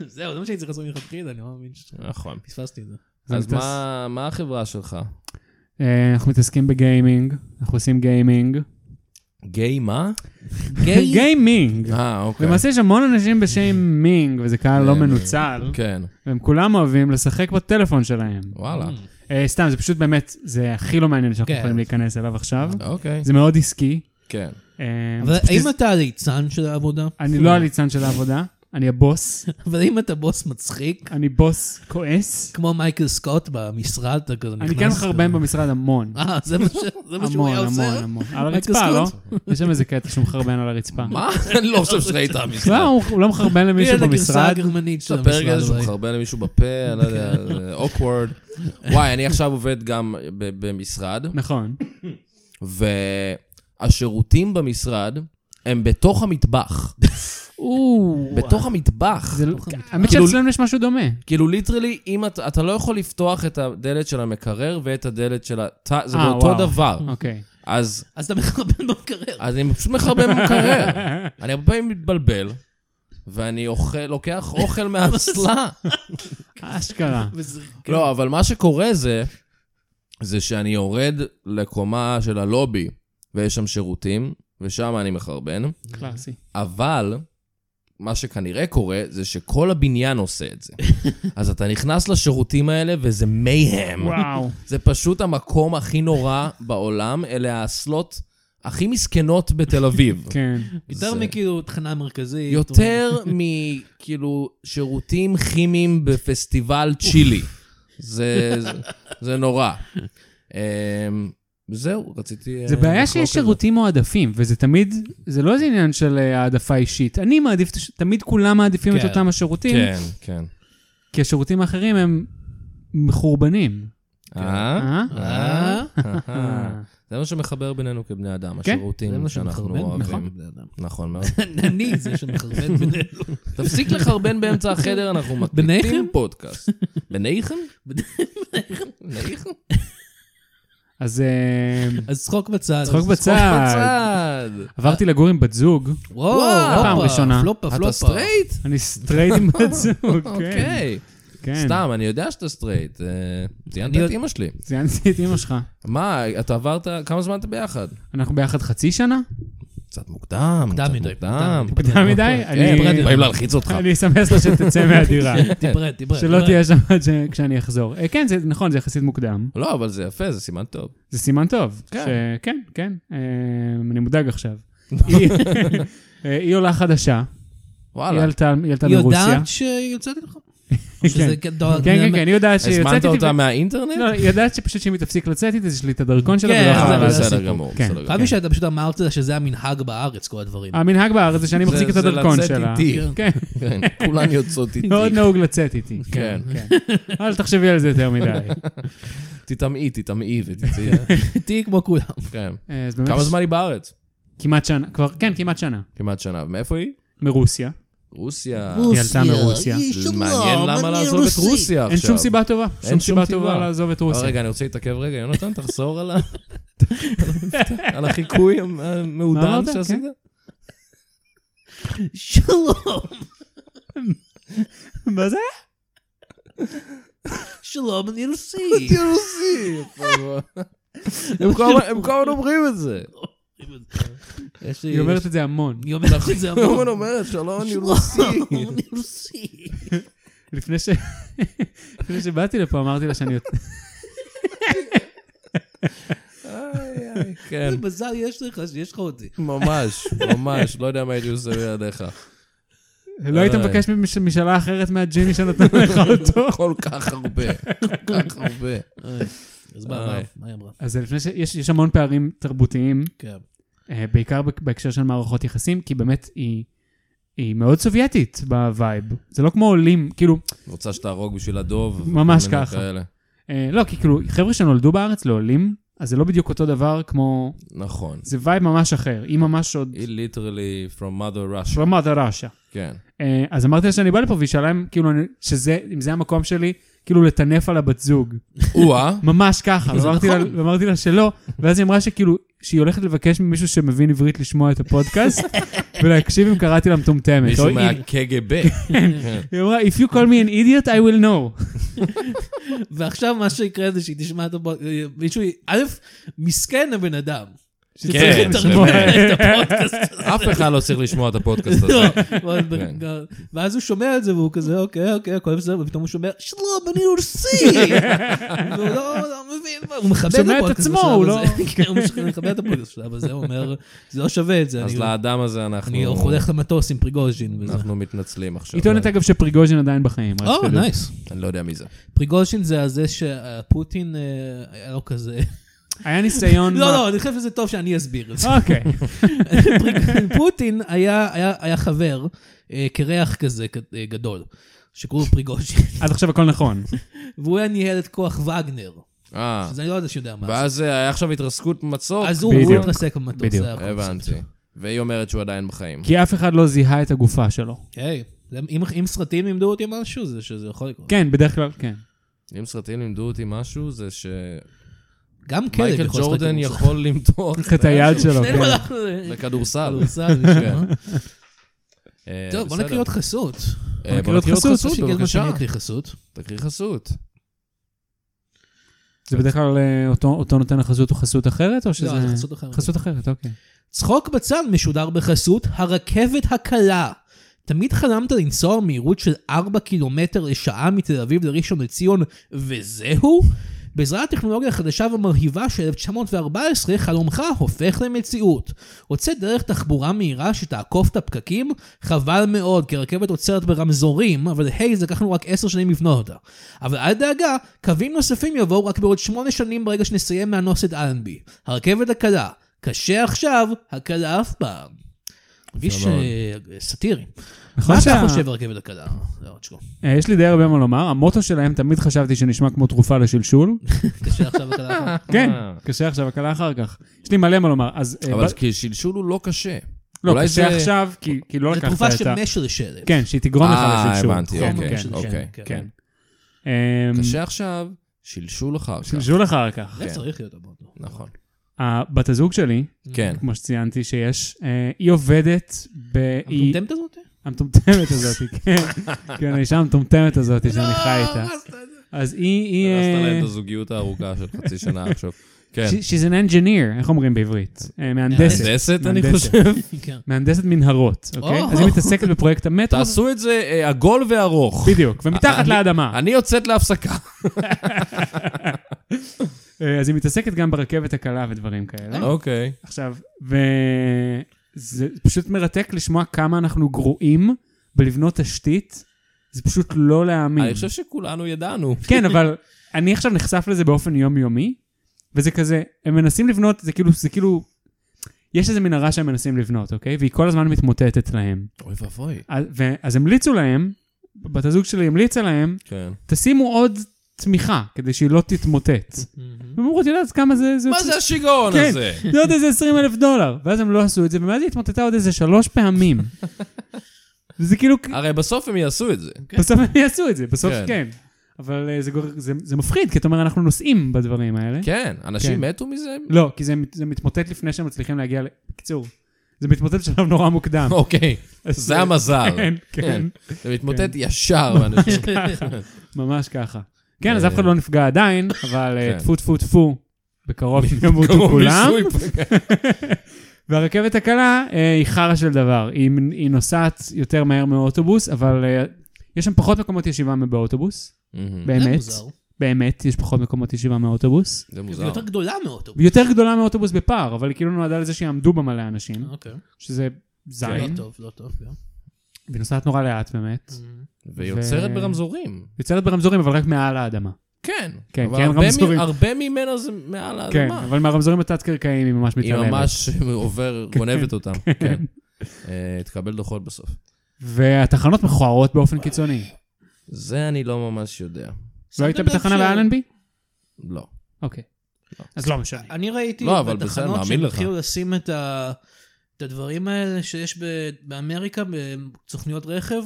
זהו, זה מה שהייתי צריך לעשות מלכתחילה, אני לא מאמין ש-
נכון.
פספסתי את זה.
זה
אז
מטס.
מה- מה החברה שלך?
אה, אנחנו מתעסקים בגיימינג, אנחנו עושים גיימינג.
גיי מה?
גיימינג.
אה, אוקיי.
למעשה יש המון אנשים בשם מינג, וזה קהל לא
אה,
מנוצל,
כן.
והם כולם אוהבים לשחק בטלפון שלהם.
וואלה.
Mm. Hmm.
אה, סתם, זה פשוט באמת, זה הכי לא מעניין שאנחנו
כן.
יכולים להיכנס אליו עכשיו.
אוקיי.
זה מאוד עסקי.
כן.
אה,
אבל
זה פשוט-
האם אתה הליצן של העבודה?
אני לא הליצן של העבודה. אני הבוס,
אבל אם אתה בוס מצחיק,
אני בוס כועס.
כמו מייקל סקוט במשרד, אתה כזה נכנס...
אני כן מחרבן
כזה.
במשרד המון.
אה, זה מה ש- זה מה שהוא
המון,
היה עושה?
המון, המון. על
מייקל
הרצפה, לא?
סקוט.
יש שם איזה קטע שהוא מחרבן על הרצפה.
מה? אני לא חושב שראית את המשחק.
לא, הוא- הוא לא מחרבן
לי
למישהו
אין הגרסה
במשרד.
הגרמנית של
יש את הפרק
המשרד.
הזה שהוא
אולי.
מחרבן למישהו בפה, אני לא יודע, אוקוורד. וואי, אני עכשיו עובד גם ב- במשרד,
נכון.
והשירותים במשרד הם בתוך המטבח. בתוך המטבח.
זה לא- האמת
כאילו-
שאצלנו יש משהו דומה.
כאילו ליטרלי, אם אתה, אתה לא יכול לפתוח את הדלת של המקרר ואת הדלת של התא, זה
אה,
באותו
וואו.
דבר.
אוקיי.
אז,
אז אתה מחרבן במקרר.
אז אני פשוט מחרבן במקרר. אני הרבה פעמים מתבלבל, ואני אוכל, לוקח אוכל מהאסלה.
אשכרה.
וזה-
לא, אבל מה שקורה זה, זה שאני יורד לקומה של הלובי, ויש שם שירותים, ושם אני מחרבן,
קלאסי.
אבל מה שכנראה קורה, זה שכל הבניין עושה את זה. אז אתה נכנס לשירותים האלה, וזה מייהם.
וואו.
זה פשוט המקום הכי נורא בעולם, אלה האסלות הכי מסכנות בתל אביב.
כן.
יותר
זה-
מכאילו תחנה מרכזית.
יותר
אוקיי.
מכאילו שירותים כימיים בפסטיבל צ'ילי. זה, זה, זה נורא. אמ, זהו, רציתי... אה,
זה בעיה
לחלוק
שיש
על זה.
שירותים מועדפים, וזה תמיד, זה לא איזה עניין של אה, העדפה אישית. אני מעדיף, את הש- תמיד כולם מעדיפים את
כן.
אותם השירותים,
כן, כן.
כי השירותים האחרים הם מחורבנים.
אה?
אה?
אה?
אה. זה מה שמחבר בינינו כבני אדם,
כן,
זה
השירותים
מה
שאנחנו
שמחרבן,
אוהבים.
נכון, בני אדם.
נכון מאוד.
אני זה שמחרבן בינינו.
תפסיק לחרבן באמצע החדר, אנחנו
ביניכם?
מקליטים פודקאסט. ביניכם? ביניכם?
אז אה,
אז צחוק בצד.
צחוק
אז-
בצד. עברתי לגור עם בת זוג,
וואו,
וואו,
לא פעם
הופה,
ראשונה.
פלופה, פלופה.
אתה סטרייט?
אני סטרייט עם בת זוג, כן.
אוקיי.
כן.
סתם, אני יודע שאתה סטרייט. אה, ציינת
אני
את
יודע-
אימא שלי.
ציינתי את אמא שלך.
מה, אתה עברת, כמה זמן אתה ביחד?
אנחנו ביחד חצי שנה?
קצת מוקדם,
מוקדם
קצת
מדי,
מוקדם. אה,
מוקדם.
מוקדם מדי? אני-
כן, באים להלחיץ אותך.
אני אסמס לה שתצא מהדירה.
תברד, תברד.
שלא תהיה שם עד ש- כשאני אחזור. אה, כן, זה נכון, זה יחסית מוקדם.
לא, אבל זה יפה, זה סימן טוב.
זה סימן טוב.
כן.
ש- כן, כן. אה, אני מודאג עכשיו. היא- אה, היא עולה חדשה, היא
וואלה.
עלתה היא עלתה
היא
מרוסיה.
יודעת שיוצאתי לך?
כן,
שזה כדור-
כן, כן, כן, היא יודעת שהיא יוצאת
הזמנת
איתי.
אותה
ו- לא,
מהאינטרנט?
היא יודעת שפשוט שאם היא תפסיק לצאת איתי, אז יש לי את הדרכון שלה
כן,
ולא
אה,
יכולה
אה,
זה
לעשות.
בסדר
הסיפור.
גמור,
כן.
בסדר גמור.
חייב לי שאתה פשוט אמרת לה שזה המנהג בארץ, כל הדברים.
המנהג בארץ זה שאני
זה-
מחזיק את
זה
הדרכון
לצאת
שלה.
איתי.
כן,
כן, כולן יוצאות איתי.
מאוד נהוג לצאת איתי.
כן.
כן. אל תחשבי על זה יותר מדי.
תטמאי, תטמאי ותצאי.
תהיי כמו כולם.
כן.
אה, אז באמת-
כמה זמן היא בארץ?
כמעט שנה, כבר, כן, כמעט שנה.
כמעט שנה. מאיפה היא?
מרוסיה.
רוסיה.
ילדה מרוסיה.
זה מעניין למה לעזוב את רוסיה עכשיו.
אין שום סיבה טובה.
אין שום
שום סיבה
סיבה.
טובה לעזוב את
אה,
רוסיה.
רגע, אני רוצה להתעכב רגע. יונתן, תחזור על ה... על החיקוי
מה
המעודן
אמרת?
שעשית?
שלום,
מה זה?
שלום, אני רוסי.
רוסי. הם כל הזמן- הם כל הזמן אומרים את זה.
יש לי-
היא אומרת את זה המון.
היא אומרת את זה
היא כל הזמן
המון.
אומרת, שלום, אני רוסי.
שלום, אני רוסי.
לפני ש... לפני שבאתי לפה אמרתי לה שאני...
איי, איי, כן,
איזה מזל יש לך שיש לך אותי.
ממש, ממש. לא יודע מה הייתי עושה בלעדיך.
לא היית מבקש ממש- משאלה אחרת מהג'יני שנתן לך אותו.
כל כך הרבה, כל כך הרבה. אה,
איי, אז מה, מה,
איי.
מה היא אמרה?
אז לפני ש... יש יש המון פערים תרבותיים,
כן.
אה, בעיקר בק- בהקשר של מערכות יחסים, כי באמת היא... היא מאוד סובייטית בווייב. זה לא כמו עולים, כאילו,
רוצה שתהרוג בשביל הדוב.
ממש
כל מיני
ככה.
כאלה.
אה, לא, כי כאילו, חבר'ה שנולדו בארץ לעולים, אז זה לא בדיוק אותו דבר כמו...
נכון.
זה וייב ממש אחר. היא ממש עוד...
היא ליטרלי from mother Russia.
שלמה דרשה.
כן.
אה, אז אמרתי לה שאני בא לפה, והיא שאלה אם כאילו, אני- שזה, אם זה המקום שלי, כאילו לטנף על הבת זוג.
או-אה.
ממש ככה,
זה
ואמרתי לה-
נכון.
ואמרתי לה שלא, ואז היא אמרה שכאילו, שהיא הולכת לבקש ממישהו שמבין עברית לשמוע את הפודקאסט, ולהקשיב אם קראתי לה מטומטמת. או
מישהו
היא-
מהקג"ב. כן.
היא אמרה, If you call me an idiot, I will know.
אה, ועכשיו מה שיקרה זה שהיא תשמע את הבו... מישהו... א', מסכן הבן אדם.
שצריך
כן,
לתרגם
באמת.
את הפודקאסט.
אף אחד לא צריך לשמוע את הפודקאסט הזה.
לא, אבל
כן.
ב- ואז הוא שומע את זה, והוא כזה, אוקיי, אוקיי, הכל בסדר, ופתאום הוא שומע, שלום, אני רוסי! והוא לא לא מבין, מה, הוא מכבד את
שומע את
הפודקאסט
עצמו,
בשלב
הוא לא-
הזה. כן, הוא מש- מכבד את הפודקאסט בשלב הזה, הוא אומר, זה לא שווה את זה,
אז
אני-
לאדם הזה אנחנו...
אני הולך למטוס עם פריגוז'ין
נכון.
וזה.
אנחנו מתנצלים עכשיו.
היא
נכון.
טוענת אגב שפריגוז'ין עדיין בחיים. רק
או,
שתדעו.
נייס.
אני לא יודע מי זה.
פריגוז'ין זה הזה שפוטין אה, היה לו כזה...
נכון, היה ניסיון...
לא,
ב-
לא, אני חושב שזה טוב שאני אסביר את זה.
אוקיי.
פריג- פוטין היה- היה היה חבר, אה, קרח כזה כ- אה, גדול, שקראו לו פריגוז'ין,
אז עכשיו הכל נכון.
והוא היה ניהל את כוח וגנר,
אה,
שזה אני לא יודע שיודע מה זה.
ואז אה, היה עכשיו התרסקות מצוק.
אז הוא
בדיוק.
הוא התרסק במטוס,
בדיוק.
זה הכל.
הבנתי. והיא אומרת שהוא עדיין בחיים.
כי אף אחד לא זיהה את הגופה שלו.
היי, זה- אם- אם סרטים לימדו אותי משהו, זה שזה יכול לקרות.
כן, בדרך כלל, כן.
אם סרטים לימדו אותי משהו, זה שמייקל
גם כלב כן, יכול לשחק
ג'ורדן
עם
יכול למתוח
צריך את היד שלו.
שנינו
כן.
הלכנו ל-
בכדורסל.
לכדורסל, נשמע.
אה,
טוב, בוא
כן. בסדר.
נקריא עוד חסות.
אה, בוא
נקריא עוד
נקריא עוד
חסות,
חסות,
שהגיע הזמן
בבקשה.
שאני אקריא חסות.
תקריא חסות.
אה,
זה בדרך כלל אה, אותו- אותו נותן החסות הוא חסות אחרת, או שזה...
לא, זה חסות אחרת.
חסות אחרת, אוקיי.
צחוק בצד משודר בחסות הרכבת הקלה. תמיד חלמת לנסוע במהירות של 4 קילומטר לשעה מתל אביב לראשון לציון, וזהו? בעזרת הטכנולוגיה החדשה והמרהיבה של 1914, חלומך הופך למציאות. רוצה דרך תחבורה מהירה שתעקוף את הפקקים? חבל מאוד, כי הרכבת עוצרת ברמזורים, אבל היי, זה לקחנו רק 10 שנים לבנות אותה. אבל אל דאגה, קווים נוספים יבואו רק בעוד 8 שנים ברגע שנסיים מהנוס את אלנבי. הרכבת הקלה. קשה עכשיו, הקלה אף פעם. מרגיש
מאוד.
אה, סאטירי.
נכון
מה אתה
שה-
חושב על הרכבת הקלה? לא, תשמעו.
אה, יש לי די הרבה מה לומר. המוטו שלהם תמיד חשבתי שנשמע כמו תרופה לשלשול.
קשה עכשיו הקלה.
כן, קשה עכשיו, הקלה אחר כך. יש לי מלא מה לומר. אז... אה,
אבל
ב-
כי שלשול הוא לא קשה.
לא,
אולי
קשה
זה-
עכשיו, כי כי לא
זו
לקחת את ה...
תרופה שמשלשלת.
כן, שהיא תגרום לך
אה,
לשלשול.
הבנתי,
חומר
אוקיי,
משלשל,
אוקיי.
לא נכון, כן.
כן. אמ,
קשה עכשיו, שלשול אחר כך.
שלשול אחר כך.
זה
כן.
צריך להיות המוטו.
נכון.
הבת הזוג שלי,
Mm.
כן.
כמו שציינתי שיש, אה, היא עובדת ב... היא-
המטומטמת הזאת?
המטומטמת הזאת, כן. כן, האישה המטומטמת הזאת
לא,
שאני חי איתה. אז היא... היא,
הרסת
אה,
להם את הזוגיות הארוכה של חצי שנה עכשיו. כן.
she- She's an engineer, איך אומרים בעברית? אה, מהנדסת.
מהנדסת, אני
מהנדסת.
חושב.
כן.
מהנדסת מנהרות, אוקיי?
או.
אז היא מתעסקת בפרויקט המטרו.
תעשו את זה אה, עגול וארוך.
בדיוק, ומתחת
אני-
לאדמה.
אני יוצאת להפסקה.
אה, אז היא מתעסקת גם ברכבת הקלה ודברים כאלה.
אוקיי.
עכשיו, וזה פשוט מרתק לשמוע כמה אנחנו גרועים בלבנות תשתית, זה פשוט לא להאמין.
אני חושב שכולנו ידענו.
כן, אבל אני עכשיו נחשף לזה באופן יומיומי, וזה כזה, הם מנסים לבנות, זה כאילו, זה כאילו, יש איזה מנהרה שהם מנסים לבנות, אוקיי? והיא כל הזמן מתמוטטת להם.
אוי ואבוי.
אז- ו- אז המליצו להם, בת הזוג שלי המליצה להם,
כן.
תשימו עוד תמיכה, כדי שהיא לא תתמוטט. והם אמרו, את יודעת כמה זה...
מה זה השיגעון
כן.
הזה?
זה עוד איזה 20 אלף דולר. ואז הם לא עשו את זה, ומאז היא התמוטטה עוד איזה שלוש פעמים. וזה כאילו,
הרי בסוף הם יעשו את זה.
בסוף הם יעשו את זה, בסוף
כן.
כן. אבל אה, זה גור- זה זה מפחיד, כי אתה אומר, אנחנו נוסעים בדברים האלה.
כן, אנשים
כן.
מתו מזה?
לא, כי זה מת- זה מתמוטט לפני שהם מצליחים להגיע ל... בקיצור, זה מתמוטט בשלב נורא מוקדם.
אוקיי,
אז
זה המזל.
כן, כן,
כן. זה מתמוטט ישר. ואנשים-
ממש ככה. כן, אז אף אחד לא נפגע עדיין, אבל אה,
אה. כן.
טפו טפו טפו, בקרוב ימותו כולם. והרכבת הקלה אה, היא חרא של דבר. היא, היא נוסעת יותר מהר מאוטובוס, אבל אה, יש שם פחות מקומות ישיבה מבאוטובוס.
מהמם.
זה
באמת.
מוזר.
באמת, יש פחות מקומות ישיבה מאוטובוס.
זה
היא
מוזר.
יותר גדולה מאוטו.
היא יותר גדולה מאוטובוס בפער, אבל היא כאילו נועדה לזה שיעמדו בה מלא אנשים,
אוקיי.
שזה
לא
זין.
טוב, Mm. לא טוב. כן.
והיא נוסעת נורא לאט באמת.
ויוצרת
ו-
ברמזורים.
יוצרת ברמזורים, אבל רק מעל האדמה.
אה,
כן.
כן,
אבל
כן,
הרבה מ-
רמזורים.
הרבה ממנה זה מעל
כן,
האדמה.
אבל מהרמזורים התת-קרקעיים היא ממש
היא
מתעלמת.
ממש עובר, גונבת אותם. כן. אה, תקבל דוחות בסוף.
והתחנות מכוערות באופן קיצוני.
זה אני לא ממש יודע.
לא היית
שמתם לב
בתחנה
ש-
באלנבי?
לא.
אוקיי.
לא.
אז לא משנה.
אני ראיתי
לא, אבל בסדר,
בתחנות
מאמין
שהם
לך.
התחילו לשים את ה- את הדברים האלה שיש ב- באמריקה, בסוכניות רכב.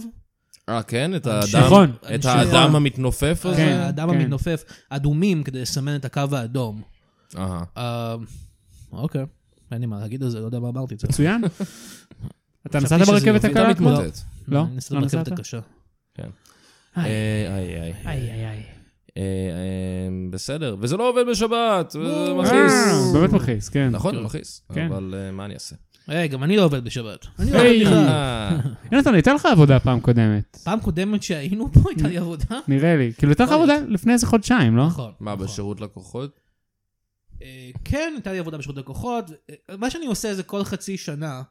אה, כן? את
אנשי-
האדם
נכון.
את
אנשי-
האדם המתנופף
אז
הזה?
כן,
האדם
כן.
המתנופף, אדומים כדי לסמן את הקו האדום.
כן.
אהה.
אה, אוקיי, אין לי מה להגיד על זה, לא יודע מה אמרתי את זה.
מצוין. אתה
חשבתי
נסעת
שזה
ברכבת
מוביל
אתה
הקלה?
מתמוטט.
לא?
אני נסעתי
לא
ברכבת
נסעת?
הקשה.
אה, איי, איי, איי.
איי איי איי.
אה, אה, בסדר, וזה לא עובד בשבת, זה
אה,
מכעיס.
באמת מכעיס, כן.
נכון, זה מכעיס,
כן.
אבל אה, מה אני אעשה?
היי, גם אני לא עובד בשבת. אני לא
היי.
עובד בכלל.
אה,
יונתן, הייתה לך עבודה פעם קודמת,
פעם קודמת שהיינו פה הייתה לי עבודה.
נראה לי. כאילו, הייתה לך
יכול
עבודה לפני איזה חודשיים, לא?
נכון.
מה,
נכון.
בשירות לקוחות?
אה, כן, הייתה לי עבודה בשירות לקוחות. אה, מה שאני עושה זה כל חצי שנה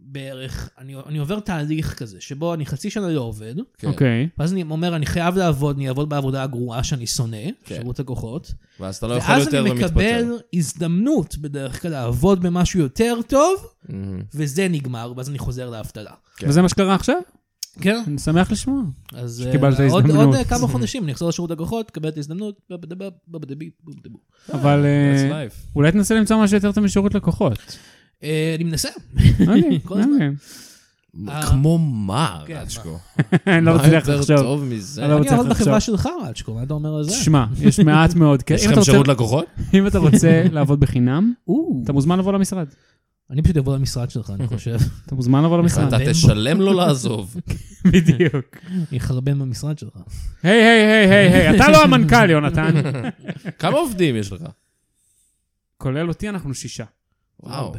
בערך, אני, אני עובר תהליך כזה, שבו אני חצי שנה לא עובד,
כן.
אוקיי.
ואז אני אומר, אני חייב לעבוד, אני אעבוד בעבודה הגרועה שאני שונא,
כן.
שירות לקוחות,
ואז אתה לא יכול
ואז
יותר
אני מקבל
ומתפטר.
הזדמנות בדרך כלל לעבוד במשהו יותר טוב,
מהמם.
וזה נגמר, ואז אני חוזר לאבטלה.
כן.
וזה מה שקרה עכשיו?
כן.
אני שמח לשמוע.
אז
שקיבלת
אה, עוד-
הזדמנות.
עוד אה, כמה חודשים אני אחזור לשירות לקוחות, אקבל את ההזדמנות, בבדבב, בבדבי, בבדבו.
אבל אה,
That's life.
אולי תנסה למצוא משהו יותר טוב משירות לקוחות.
אה, אני מנסה.
אוקיי,
כל הזמן.
אוקיי.
כמו מה,
כן,
רצ'קו?
אני לא
מה
מצליח
יותר
לחשוב.
טוב מזה?
אני לא
אני
מצליח
עבוד בחברה
לחשוב.
שלך, רצ'קו, מה אתה אומר על זה?
תשמע, יש מעט מאוד. כ-
יש
אם אתה
לכם
רוצה-
שירות לקוחות?
אם אתה רוצה לעבוד בחינם,
או,
אתה מוזמן לבוא למשרד.
אני פשוט אבוא למשרד שלך, אני
אוקיי.
חושב.
אתה מוזמן לבוא למשרד.
אתה
בן בו.
תשלם לו לעזוב.
בדיוק.
אני אחרבן במשרד שלך.
היי, היי, היי, היי, היי, אתה לא המנכ"ל, יונתן.
כמה עובדים יש לך?
כולל אותי, אנחנו שישה.
וואו.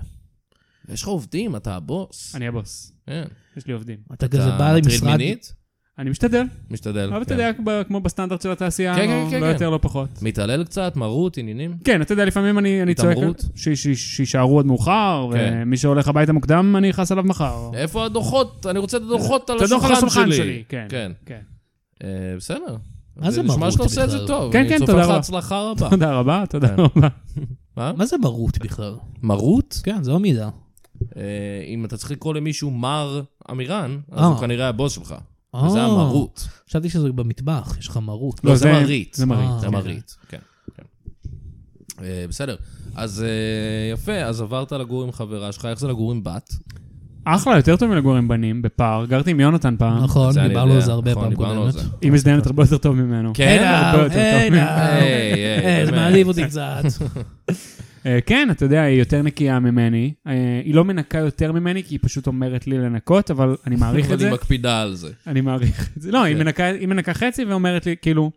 יש לך עובדים, אתה הבוס.
אני הבוס.
כן.
יש לי עובדים.
אתה כזה
אתה
בא
מטריד
למשרד...
מינית?
אני משתדל,
משתדל.
אבל אתה
כן.
יודע, ב- כמו בסטנדרט של התעשייה,
כן, כן,
לא-
כן,
לא
כן.
יותר, לא פחות.
מתעלל קצת, מרות, עניינים?
כן, אתה יודע, לפעמים אני אני צועק...
התעמרות?
ש- ש- שיישארו עד מאוחר,
כן.
ומי שהולך הביתה מוקדם, אני אכעס עליו מחר.
איפה הדוחות? אני רוצה את הדוחות על
את הדוח על
השולחן שלי.
כן.
כן.
כן.
אה, בסדר.
מה זה
נשמע
מרות
שאתה עושה את זה
בכלל?
טוב.
כן, כן, תודה
אני צופה
רבה.
לך הצלחה רבה.
תודה רבה, תודה
כן.
רבה.
מה?
מה זה מרות בכלל?
מרות?
כן, זו המילה.
אה, אם אתה צריך לקרוא למישהו מר עמירן, אז
אה.
הוא כנראה הבוס שלך. וזה
אה,
המרות.
חשבתי שזה במטבח, יש לך מרות.
לא, זה
זה-
מרית.
זה מרית.
אה,
זה
כן.
מרית, כן. כן. אה, בסדר. אז אה, יפה, אז עברת לגור עם חברה שלך, איך זה לגור עם בת?
אחלה, יותר טוב מלגור עם בנים, בפער. גרתי עם יונתן פעם.
נכון,
זה אני
דיברנו
יודע.
על זה הרבה
נכון,
פעם
דיברנו על
קודמת.
זה.
היא מזדיינת הרבה יותר טוב ממנו.
כן?
הרבה יותר
היי,
טוב.
היי, היי,
היי, אה, זה
אה, באמת.
מעליב אותי קצת.
אה, כן, אתה יודע, היא יותר נקייה ממני. אה, היא לא מנקה יותר ממני, כי היא פשוט אומרת לי לנקות, אבל אני מעריך
אבל
את זה.
היא מקפידה על זה.
אני מעריך את זה. לא, היא
כן.
מנקה- היא מנקה חצי ואומרת לי, כאילו,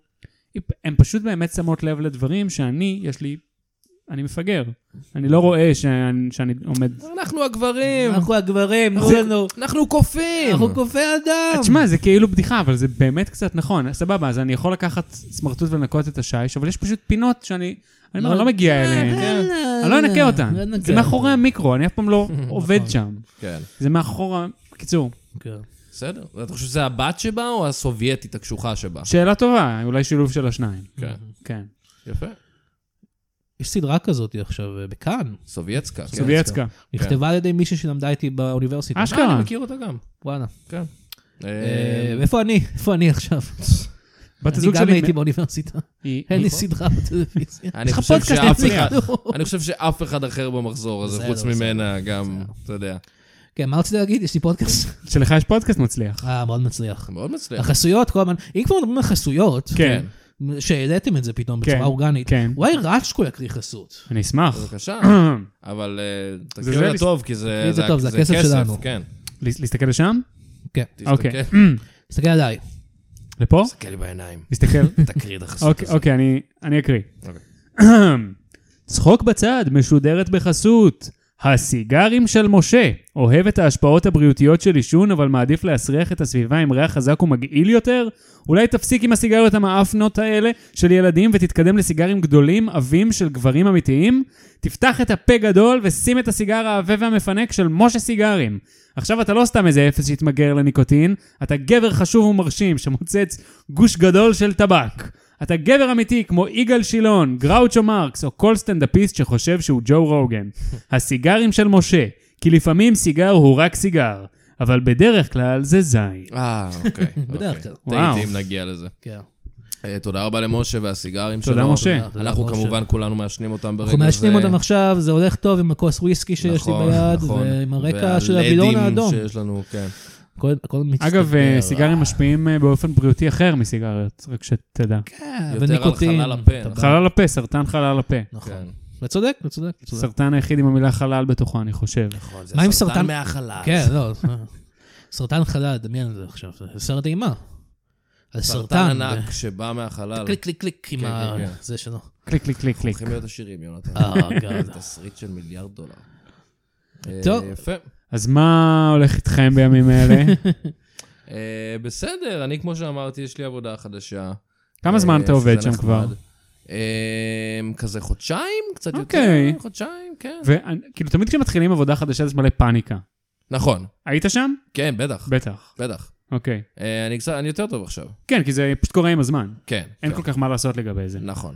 היא- הן פשוט באמת שמות לב לדברים שאני, יש לי, אני מפגר. אני לא רואה שאני שאני עומד...
אנחנו הגברים,
אנחנו הגברים, תנו
אנחנו-
לנו.
אנחנו קופים.
אנחנו קופי אדם.
תשמע, זה כאילו בדיחה, אבל זה באמת קצת נכון. סבבה, אז אני יכול לקחת סמרטוט ולנקות את השיש, אבל יש פשוט פינות שאני, אני אומר,
לא-
לא מגיע אליהן. אני לא אנקה אותן.
לא ננקה
זה מאחורי
אותן.
המיקרו, אני אף פעם לא עובד
נכון.
שם.
כן,
זה מאחור ה... בקיצור,
כן.
בסדר. אתה חושב שזה הבת שבה או הסובייטית הקשוחה שבה?
שאלה טובה, אולי שילוב של השניים.
כן,
כן.
יפה.
יש סדרה כזאת עכשיו אה, בכאן.
סובייצקה. כן.
סובייצקה.
נכתבה על ידי מישהי שלמדה איתי באוניברסיטה.
אשכרה.
אה, אני מכיר אותה גם.
וואלה.
אה,
אה, איפה אני? איפה אני עכשיו?
בת
אני
הזוג
גם
שלי...
הייתי באוניברסיטה.
היא-
אין לי
היא-
סדרה בטלוויזיה.
אני
יש לך
חושב
פודקאסט,
שאף
אין לי
אחד-
כלום.
אני חושב שאף אחד אחר במחזור הזה,
בסדר,
חוץ
בסדר.
ממנה גם, אתה יודע.
כן, מה רצית להגיד? יש לי פודקאסט.
שלך יש פודקאסט מצליח.
אה, מאוד מצליח.
מאוד מצליח.
החסויות כל הזמן, אם כבר מדברים על חסויות,
כן,
שהעליתם את זה פתאום
כן.
בצורה אורגנית,
כן.
אולי רצ'קו יקריא חסות.
אני אשמח.
בבקשה. אבל אה,
זה
תקריא את
לס-
טוב, כי זה
תקריא את זה טוב, זה הכסף שלנו.
כן.
לה- להסתכל לשם?
כן,
אוקיי.
תסתכל.
תסתכל עליי.
לפה?
תסתכל לי בעיניים,
להסתכל.
תקריא את החסות
אוקיי,
הזאת.
אוקיי, אני- אני אקריא.
אוקיי.
צחוק בצד משודרת בחסות. הסיגרים של משה. אוהב את ההשפעות הבריאותיות של עישון, אבל מעדיף להסריח את הסביבה עם ריח חזק ומגעיל יותר? אולי תפסיק עם הסיגריות המאפנות האלה של ילדים ותתקדם לסיגרים גדולים, עבים של גברים אמיתיים? תפתח את הפה גדול ושים את הסיגר העבה והמפנק של משה סיגרים. עכשיו אתה לא סתם איזה אפס שהתמגר לניקוטין, אתה גבר חשוב ומרשים שמוצץ גוש גדול של טבק. אתה גבר אמיתי כמו יגאל שילון, גראוצ'ו מרקס או כל סטנדאפיסט שחושב שהוא ג'ו רוגן. הסיגרים של משה, כי לפעמים סיגר הוא רק סיגר, אבל בדרך כלל זה זין.
אה, אוקיי.
בדרך כלל.
וואו.
וואו.
תהיתי אם נגיע לזה.
כן.
אה, תודה רבה למשה והסיגרים שלו.
תודה, משה.
תודה,
אנחנו
משה.
כמובן כולנו מעשנים אותם ברגע זה.
אנחנו מעשנים אותם עכשיו, זה הולך טוב עם הכוס וויסקי שיש לי
נכון,
ביד,
נכון.
ועם הרקע של
והלדים
הבילון האדום.
שיש לנו, כן.
הכל- הכל מצטבר.
אגב, אה, סיגרים משפיעים אה, באופן בריאותי אחר מסיגריות, רק שתדע.
כן,
יותר על
וניקוטין.
חלל הפה, נכון.
טבק.
חלל הפה, סרטן חלל הפה.
נכון.
כן.
אתה צודק, אתה צודק, אתה צודק.
סרטן היחיד עם המילה חלל בתוכו, אני חושב.
נכון,
מה עם
זה סרטן
סרטן?
מהחלל.
אה, כן, לא. סרטן חלל, דמיין את זה עכשיו. זה סרט אימה. על
סרטן
סרטן.
ענק שבא מהחלל.
קליק, קליק, קליק עם
כן,
ה...
כן, כן.
זה שלו.
קליק, קליק, קליק, קליק.
הולכים להיות עשירים, יונתן.
אה, גאד.
תסריט של מיליארד דולר. אה,
טוב.
יפה.
אז מה הולך איתכם בימים אלה?
אה, בסדר, אני כמו שאמרתי, יש לי עבודה חדשה.
כמה זמן
אה,
אתה עובד
שזה
שם כבר?
נחמד. אה, כזה חודשיים, קצת יותר.
אוקיי.
חודשיים, כן.
וכאילו, כאילו, תמיד כשמתחילים עבודה חדשה יש מלא פאניקה.
נכון.
היית שם?
כן, בטח.
בטח.
בטח.
אוקיי.
אה, אני קצת- אני יותר טוב עכשיו.
כן, כי זה פשוט קורה עם הזמן.
כן.
אין
כן.
כל כך מה לעשות לגבי זה.
נכון.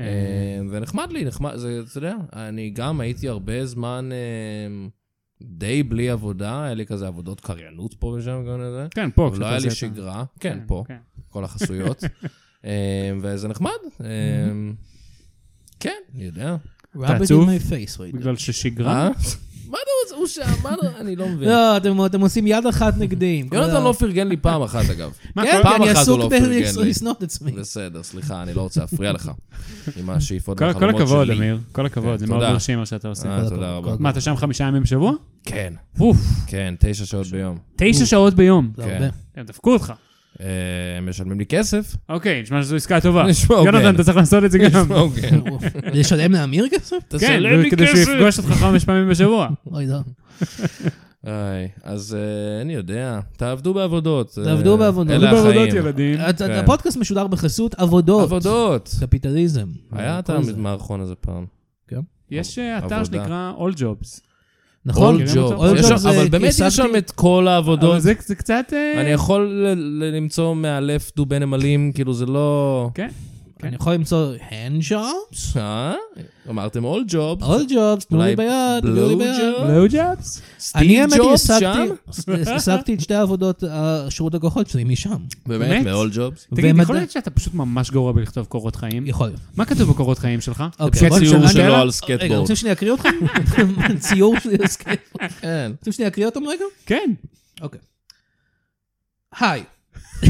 אה,
אה, ונחמד לי, נחמד, זה, אתה יודע, אני גם הייתי הרבה זמן אה, די בלי עבודה, היה לי כזה עבודות קריינות פה ושם, כל מיני זה.
כן, פה.
לא
כשאתה
היה
עושה
לי
את ה-
שגרה, כן, פה,
כן.
כל החסויות. אה, וזה נחמד. אה, כן, אני יודע.
Rub it in
עצוב?
my face right now.
בגלל ששגרה?
אה? מה אתה רוצה? הוא שם, מה אתה... אני לא מבין.
לא, אתם- אתם עושים יד אחת נגדי. עם כל ה-
יונתן לא פרגן לי פעם אחת, אגב.
מה,
כן,
פעם
כי אני
אחת הוא
עסוק
לא פרגן לי.
בלשנוא את עצמי.
בסדר, סליחה, אני לא רוצה להפריע לך עם השאיפות
כל- כל
והחלומות שלי.
הכבוד, אמיר. כל הכבוד,
כן,
זה מאוד
תודה.
מרשים מה שאתה עושה.
אה, תודה רבה.
מה, אתה שם חמישה ימים בשבוע?
כן,
אוף,
כן, תשע שעות ביום.
תשע שעות ביום.
זה
כן.
לא הרבה.
הם דפקו אותך.
אה, הם משלמים לי כסף.
אוקיי, נשמע שזו עסקה טובה.
אה, נשמע כן. הוגן.
יונתן, אתה צריך לעשות את זה גם.
אוקיי.
לשלם לאמיר כסף?
כן,
תשלם לי
כדי שהוא
כסף.
יפגוש אותך חמש פעמים בשבוע.
אוי, לא.
איי, אז אה, אני יודע, תעבדו בעבודות. אה,
תעבדו בעבודות.
אלה
תעבדו בעבודות,
החיים.
ילדים.
הת-
כן.
הפודקאסט משודר בחסות עבודות.
עבודות.
קפיטליזם.
היה את
כל זה.
המערכון הזה פעם.
יש אה, אתר
עבודה.
שנקרא All Jobs.
נכון?
All מכירים אותו?
Jobs.
All
יש
Jobs
שם- אבל
זה
באמת יש
קיסקתי.
שם את כל
אבל
העבודות.
זה זה קצת... אה,
אני יכול ל- ל- למצוא מאלף דובי נמלים, כאילו זה לא...
כן.
אני יכול למצוא hand jobs?
אה? אמרתם אול ג'וב.
אה,
all jobs, תנו לי
אולי
ביד, תנו לי
blow
ביד.
job?
Low Jobs?
אני
סטיב
האמת היא,
ג'ובס
השגתי-
שם?
השגתי את שתי העבודות, השירות לקוחות שלי משם.
באמת?
באמת?
מאול ג'ובס?
תגיד,
ומדע-
יכול להיות שאתה פשוט ממש גרוע בלכתוב קורות חיים?
יכול.
מה כתוב בקורות חיים שלך? זה
אוקיי,
פשוט
בוא
ציור
נשנה.
של-
שלו
רגע,
על
רגע,
סקטבורד.
רוצים שאני אקריא אותך? ציור שלי על סקייטבורד.
כן.
רוצים שאני אקריא אותו רגע?
כן.
אוקיי. היי,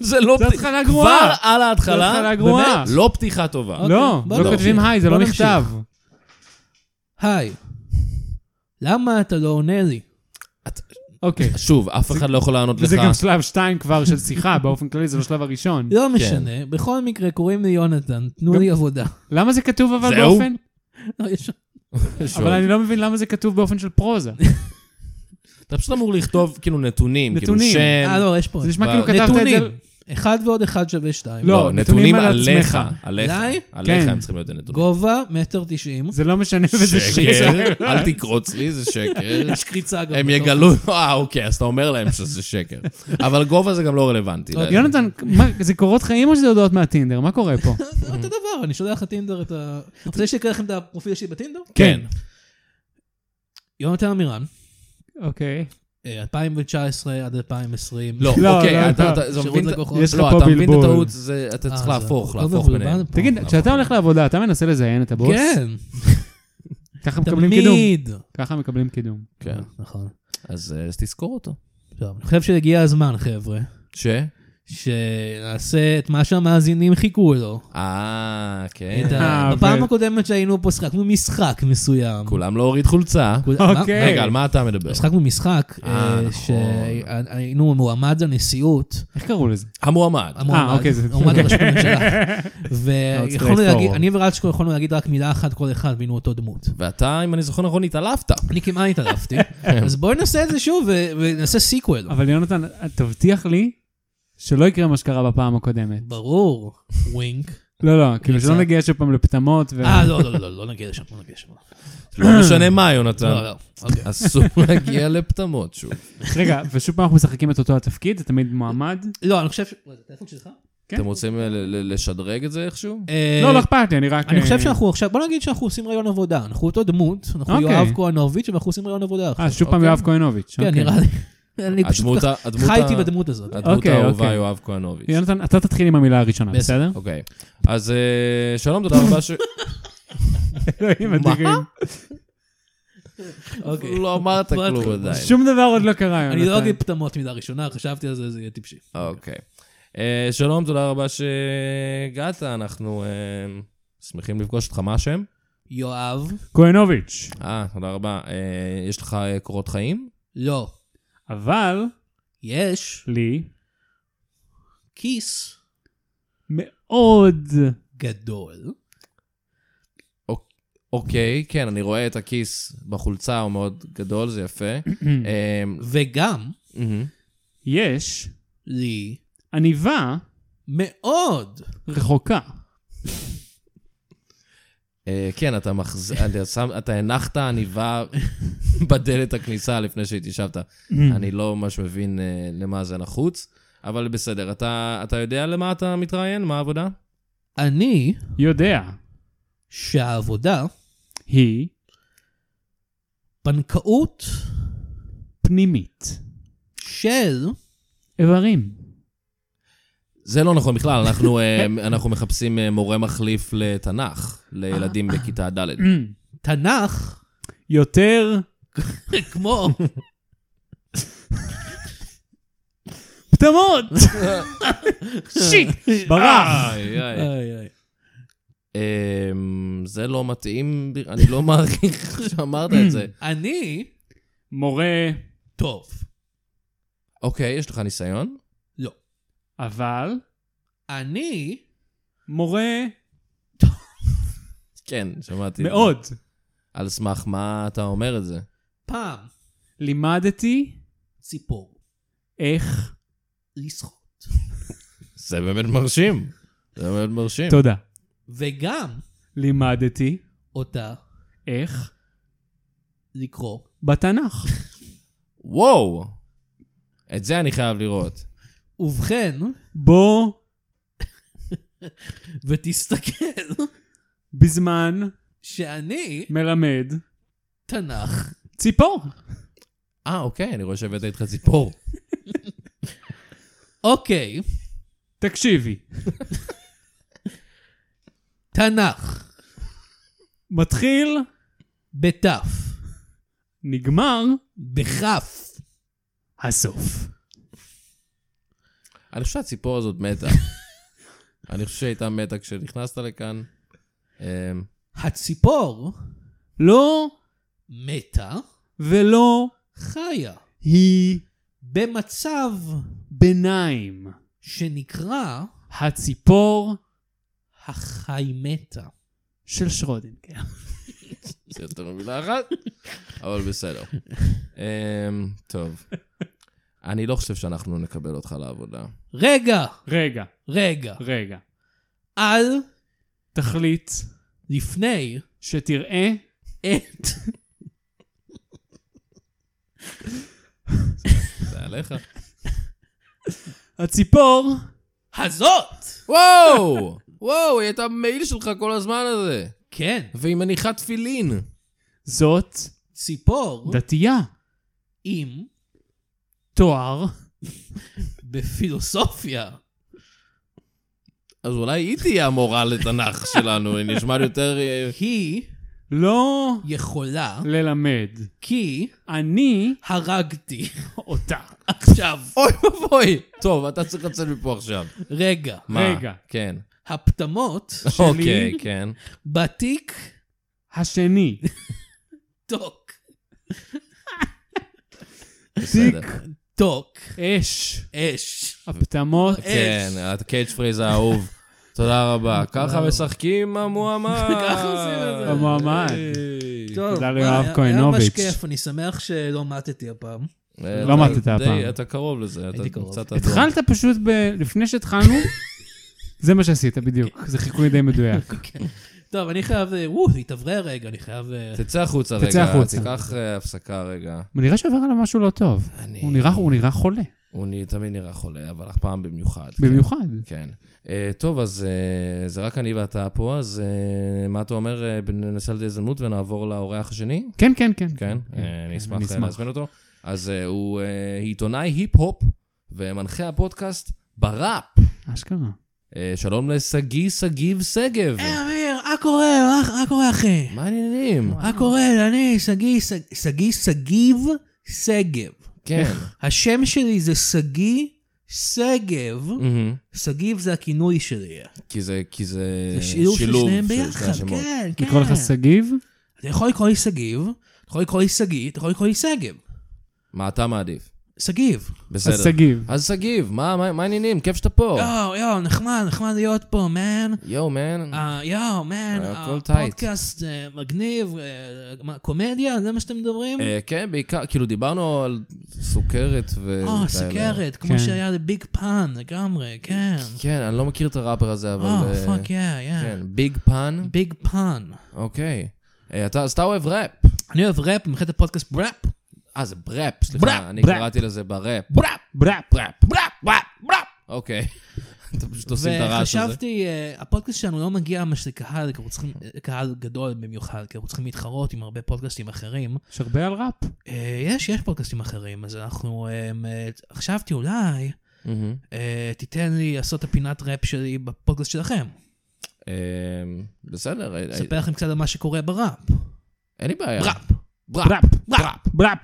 זה לא...
זו
פת-
התחלה
כבר
גרועה.
על ההתחלה,
זו התחלה גרועה.
באמת, לא פתיחה טובה.
אוקיי,
לא,
בוא
לא
נמשיך.
כותבים היי, זה
בוא
לא
נמשיך.
נכתב.
היי. למה אתה לא עונה לי?
אוקיי.
שוב, אף אחד לא יכול לענות לך.
וזה גם שלב שתיים כבר של שיחה, באופן כללי זה לא שלב הראשון.
לא משנה, בכל מקרה קוראים לי יונתן, תנו לי עבודה.
למה זה כתוב אבל
זהו?
באופן?
לא, יש-
אבל אני לא מבין למה זה כתוב באופן של פרוזה.
אתה פשוט אמור לכתוב כאילו נתונים, כאילו
נתונים.
שם.
אה, לא, יש פה.
זה נשמע
ב-
כאילו כתבת את
נתונים.
זה...
אחד ועוד אחד שווה שתיים.
לא, נתונים על
עליך.
עצמך.
עליך.
עליי?
עליך
כן.
הם צריכים להיות הנתונים.
גובה, מטר תשעים.
זה לא משנה וזה שקר.
שקר, אל תקרוץ לי, זה שקר.
יש קריצה גם.
הם
בתוך.
יגלו, אה, אוקיי, אז אתה אומר להם שזה שקר. אבל גובה זה גם לא רלוונטי.
יונתן, מה, זה קורות חיים או שזה הודעות מהטינדר? מה קורה פה?
אותו דבר, אני שולח לטינדר את ה... רוצה שאני אקריא לכם את הפרופיל שלי בטינדר?
כן.
יונתן אמירן,
אוקיי.
אה, 2019 עד 2020.
לא,
לא,
אוקיי,
לא,
אתה
לא.
אתה- זה
שירות
מבין את-
לקוחות.
יש לך
לא,
פה
אתה מבין את
בלבול.
הטעות, זה- אתה
אה,
צריך
זה-
להפוך,
לא
להפוך
מבולבל
ביניהם.
פה.
תגיד, כשאתה הולך לעבודה, אתה מנסה לזיין את הבוס?
נכון. כן,
ככה מקבלים קידום.
תמיד.
ככה מקבלים קידום.
כן,
נכון.
אז אה, אז תזכור אותו.
טוב, אני חושב שהגיע הזמן, חבר'ה,
ש?
שנעשה את מה שהמאזינים חיכו לו.
אה, כן.
את ה-
אה,
בפעם
ו-
הקודמת שהיינו פה, שחקנו משחק מסוים.
כולם להוריד חולצה.
כול-
אוקיי.
רגע, על מה אתה מדבר?
מה? שחקנו משחק,
אה,
אה,
נכון.
שהיינו מועמד לנשיאות.
איך קראו לזה?
המועמד.
המועמד,
אוקיי, זה-
המועמד
אוקיי.
לראשות הממשלה.
מאוד
ויכולנו
straightforward.
להגיד, אני ורצ'קו יכולנו להגיד רק מילה אחת כל אחד, והיינו אותו דמות.
ואתה, אם אני זוכר נכון, התעלפת.
אני כמעט התעלפתי,
כן.
אז בואי נעשה את זה שוב ו- ונעשה סיקוול.
אבל יונתן, תבטיח לי שלא יקרה מה שקרה בפעם הקודמת.
ברור, ווינק.
לא, לא, כאילו
יצא.
שלא נגיע שוב פעם לפטמות. ו-
אה, לא, לא, לא, לא, לא נגיע לשם, לא נגיע לשם.
לא משנה מה, יונתן.
לא, לא, אוקיי. כן.
אסור להגיע לפטמות שוב.
רגע, ושוב פעם אנחנו משחקים את אותו התפקיד, זה תמיד מועמד.
לא, אני חושב ש... מה, זה הטלפון שלך?
כן.
אתם רוצים אה, ל- ל- לשדרג את זה איכשהו?
אה,
לא, לא אכפת לי, אני רק...
אני
אה,
חושב שאנחנו עכשיו, בוא נגיד שאנחנו עושים רעיון עבודה, אנחנו אותו דמות, אנחנו
אוקיי.
יואב כהנוביץ' ואנחנו עושים רעיון עבודה.
אה, שוב פעם
אוקיי.
יואב כהנוביץ'.
כן,
אוקיי.
נראה לי. אני פשוט
הדמות
כך-
ה- הדמות ה-
חייתי בדמות הזאת.
הדמות
אוקיי,
האהובה
אוקיי.
יואב כהנוביץ'.
יונתן, אתה תתחיל עם המילה הראשונה, בסדר?
אוקיי. אז אה, שלום, תודה רבה ש...
אלוהים אדירים.
אוקיי.
לא אמרת
בוא
כלום
נתחיל.
עדיין.
שום דבר עוד לא קרה, יונתן.
אני לא אגיד פטמות מילה ראשונה, חשבתי על זה, זה יהיה טיפשי.
אוקיי. אה, שלום, תודה רבה שהגעת, אנחנו אה, שמחים לפגוש אותך, מה השם?
יואב,
כהנוביץ'.
אה, תודה רבה. אה, יש לך אה, קורות חיים?
לא.
אבל
יש
לי
כיס
מאוד.
גדול.
אוקיי, כן, אני רואה את הכיס בחולצה, הוא מאוד גדול, זה יפה.
אה.
אמ,
וגם
מהמם.
יש
לי
עניבה
מאוד
רחוקה.
אה, כן, אתה מחז... אתה שם- אתה הנחת עניבה בדלת הכניסה לפני שהתיישבת.
אה.
אני לא ממש מבין אה, למה זה נחוץ, אבל בסדר. אתה אתה יודע למה אתה מתראיין? מה העבודה?
אני
יודע.
שהעבודה
היא
בנקאות
פנימית.
של
איברים.
זה לא נכון בכלל, אנחנו, אה, אנחנו מחפשים אה, מורה מחליף לתנ"ך, לילדים בכיתה ד'.
תנ"ך
יותר
כמו
פטמות! שיט! ברח!
איי, איי.
איי, איי.
אה, אמ, זה לא מתאים, אני לא מעריך שאמרת את זה.
אני
מורה,
טוב
אוקיי, יש לך ניסיון?
לא
אבל
אני
מורה
כן, שמעתי. את זה.
מאוד.
על סמך מה אתה אומר את זה?
פעם
לימדתי
ציפור
איך...
לשחות
זה באמת מרשים. זה באמת מרשים.
תודה.
וגם
לימדתי
אותה
איך
לקרוא
בתנ"ך.
וואו! את זה אני חייב לראות.
ובכן
בו
ותסתכל
בזמן
שאני
מלמד
תנ"ך
ציפור.
אה, אוקיי, אני רואה שהבאת איתך ציפור.
אוקיי
תקשיבי,
תנ"ך
מתחיל,
בתף
נגמר,
בכף
הסוף.
אני חושב שהציפור הזאת מתה. אני חושב שהייתה מתה כשנכנסת לכאן. אמ,
הציפור
לא
מתה
ולא
חיה
היא
במצב
ביניים.
שנקרא
הציפור
החי מתה.
של שרודינגר.
זה יותר ממילה אחת, אבל בסדר. אמ, טוב. אני לא חושב שאנחנו נקבל אותך לעבודה.
רגע,
רגע,
רגע,
רגע.
אל
תחליט
לפני
שתראה
את
זה עליך.
הציפור
הזאת.
וואו! וואו, היא הייתה במעיל שלך כל הזמן הזה.
כן,
והיא מניחה תפילין.
זאת
ציפור
דתייה.
עם
תואר
בפילוסופיה.
אז אולי היא תהיה המורה לתנ"ך שלנו, היא נשמעת יותר... אה,
היא
לא
יכולה
ללמד.
כי
אני
הרגתי
אותה.
עכשיו.
אוי ואבוי! טוב, אתה צריך לצאת מפה עכשיו.
רגע,
מה?
רגע.
כן.
הפטמות
אוקיי, כן.
בתיק
השני.
טוק.
בסדר.
טוק.
אש.
אש.
הפטמות.
כן, הקייג' פרייז האהוב. תודה רבה. ככה משחקים המועמד.
ככה עושים את זה.
המועמד.
היי.
תודה
מה,
ליואב
היה- היה
כהנוביץ'.
ממש כיף, אני שמח שלא מתתי הפעם.
אה,
לא
אתה
מתת
די-
הפעם.
אתה קרוב לזה, אתה
הייתי קרוב.
קצת... אדום.
התחלת פשוט ב... לפני שהתחלנו, זה מה שעשית בדיוק. זה חיקוי די מדויק.
כן. טוב, אני חייב, אה, וואו, התאוורר רגע, אני חייב... אה,
תצא החוצה
תצא
רגע,
החוצה.
תיקח אה, הפסקה רגע.
נראה שעובר עליו משהו לא טוב.
אני-
הוא נראה- הוא נראה חולה.
הוא נ- תמיד נראה חולה, אבל הפעם במיוחד. כן.
במיוחד.
כן. אה, טוב, אז אה, זה רק אני ואתה פה, אז אה, מה אתה אומר? אה, ננסה לזה הזדמנות ונעבור לאורח השני?
כן, כן, כן.
כן, אה, אני אשמח אה, להזמין אותו. אז אה, הוא אה, עיתונאי היפ-הופ ומנחה הפודקאסט בראפ.
אשכרה.
אה, שלום לשגיא שגיב שגב.
היי, אמיר, מה קורה? מה- מה קורה, אחי?
מה העניינים?
מה קורה? אני שגיא, ש- שגיא שגיב שגב.
כן.
השם שלי זה שגיא שגב.
מהמם.
שגיב זה הכינוי שלי.
כי זה כי זה
זה
אה, שילוב
שילוב של שניהם
שני
ביחד,
השמות.
כן, כן.
לקרוא לך שגיב?
אתה יכול לקרוא לי שגיב, אתה יכול לקרוא לי שגיא, אתה יכול לקרוא לי שגב.
מה אתה מעדיף?
שגיב.
בסדר.
אז תגיב.
אז שגיב, מה- מה מה העניינים? כיף שאתה פה.
יואו, יואו, נחמד, נחמד להיות פה, מן.
יואו, מן.
אה, יואו, מן,
הכל
הפודקאסט אה, מגניב, אה, מה, קומדיה, זה מה שאתם מדברים?
אה, כן, בעיקר, כאילו דיברנו על סוכרת ו...
או,
כאלה.
סכרת, אה, כמו
כן.
שהיה לביג פאן לגמרי, כן.
כן, אני לא מכיר את הראפר הזה, אבל...
או,
אה,
פאק, יא, יא.
כן, ביג פן.
ביג פאן.
אוקיי. אה, אתה- אז אתה אוהב ראפ.
אני אוהב ראפ, מבחינת הפודקאסט ראפ.
אה, זה בראפ, סליחה.
בראפ,
אני
בראפ.
קראתי לזה בראפ.
ראפ,
בראפ.
בראפ.
ראפ, ראפ, ראפ.
אוקיי. אתם פשוט עושים את הרעש הזה.
וחשבתי, אה, הפודקאסט שלנו לא מגיע ממש לקהל, כי אנחנו צריכים, אה, קהל גדול במיוחד, כי אנחנו צריכים להתחרות עם הרבה פודקאסטים אחרים.
יש הרבה על ראפ.
אה, יש, יש פודקאסטים אחרים, אז אנחנו, אה, אה, חשבתי אולי,
מהמם.
אה, תיתן לי לעשות את הפינת ראפ שלי בפודקאסט שלכם.
אה, בסדר, אה, אה,
אספר לכם קצת על מה שקורה בראפ.
אין לי בעיה.
ראפ.
בראפ.
בראפ.
ראפ.
בראפ.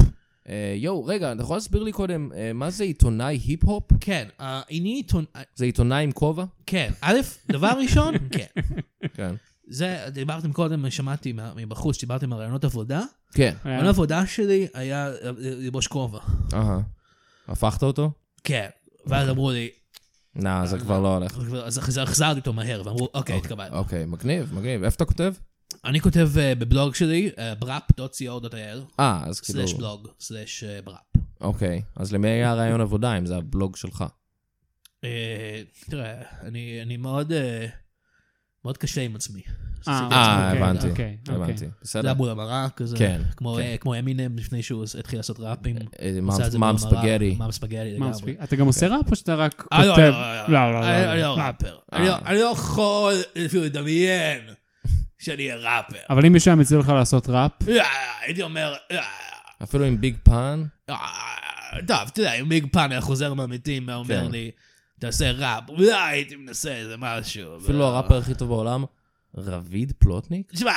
אה, יואו, רגע, אתה יכול להסביר לי קודם, אה, מה זה עיתונאי היפ-הופ?
כן, אה, איני עיתון... אה,
זה עיתונאי עם כובע?
כן, א', דבר ראשון, כן.
כן.
זה, דיברתם קודם, שמעתי מה- מבחוץ, שדיברתם על רעיונות עבודה.
כן.
היה-
רעיון עבודה שלי היה אה, ללבוש כובע.
אהה. הפכת אותו?
כן. ואז אמרו לי,
נא, זה כבר לא הולך.
אז אחרי זה החזרתי אותו מהר, ואמרו, אוקיי, התקבלנו.
אוקיי, מגניב, מגניב. איפה אתה כותב?
אני כותב אה, בבלוג שלי, brap.co.il,
אה, אז כאילו...
סלש בלוג, סלש אה, brap.
אוקיי. אז למי היה רעיון עבודה, אם זה הבלוג שלך?
אוקיי. אה, תראה, אני אני מאוד אה, מאוד קשה עם עצמי. כן.
אה,
אה,
אוקיי,
הבנתי.
אוקיי,
הבנתי.
אוקיי.
בסדר.
זה מול המראה כזה,
כן,
כמו,
כן.
אה, כמו אמינם לפני שהוא התחיל לעשות ראפים.
אה,
עשה את זה
מאם
מול המראה,
ספגטי.
מאם ספגטי
מה,
לגמרי.
מספיק? אתה גם עושה ראפ או שאתה רק כותב?
אה, לא, לא, לא,
לא, לא,
אני-
לא,
אני
לא.
לא ראפר. אני לא-
אה.
אני לא יכול אפילו לדמיין שאני אהיה ראפר.
אבל אם מישהו היה מציע לך לעשות ראפ,
אה, הייתי אומר, אה,
אפילו עם ביג פן.
אה, טוב, אתה יודע, אם ביג פאן היה חוזר מהמתים, היה אומר
כן.
לי, תעשה ראפ, אולי הייתי מנסה איזה משהו. לא.
אפילו
אבל-
הראפר הכי טוב בעולם, רביד פלוטניק?
תשמע,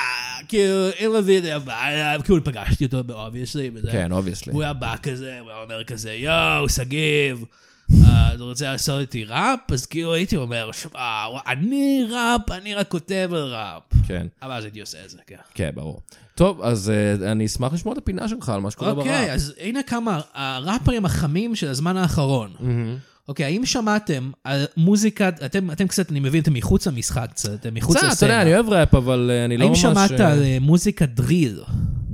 כאילו, אם רביד היה בא, אליו, כאילו פגשתי אותו באובייסלי, וזה.
כן, אובייסלי.
הוא היה בא כזה, הוא היה אומר כזה, יואו, שגיב, אה, אתה רוצה לעשות איתי ראפ? אז כאילו הייתי אומר, שמע, אני ראפ, אני רק כותב על ראפ.
כן,
אבל אז הייתי עושה את זה, כן.
כן, ברור. טוב, אז אה, אני אשמח לשמוע את הפינה שלך על מה שקורה בראפ.
אוקיי, אז הנה כמה הראפרים החמים של הזמן האחרון.
מהמם.
אוקיי, האם שמעתם על מוזיקה, אתם אתם קצת, אני מבין, אתם מחוץ למשחק קצת, אתם מחוץ
קצת,
לסצנה.
אתה יודע, אני אוהב ראפ, אבל אה, אני לא
האם
ממש...
שמעת
אה,
על אה, מוזיקה דריל?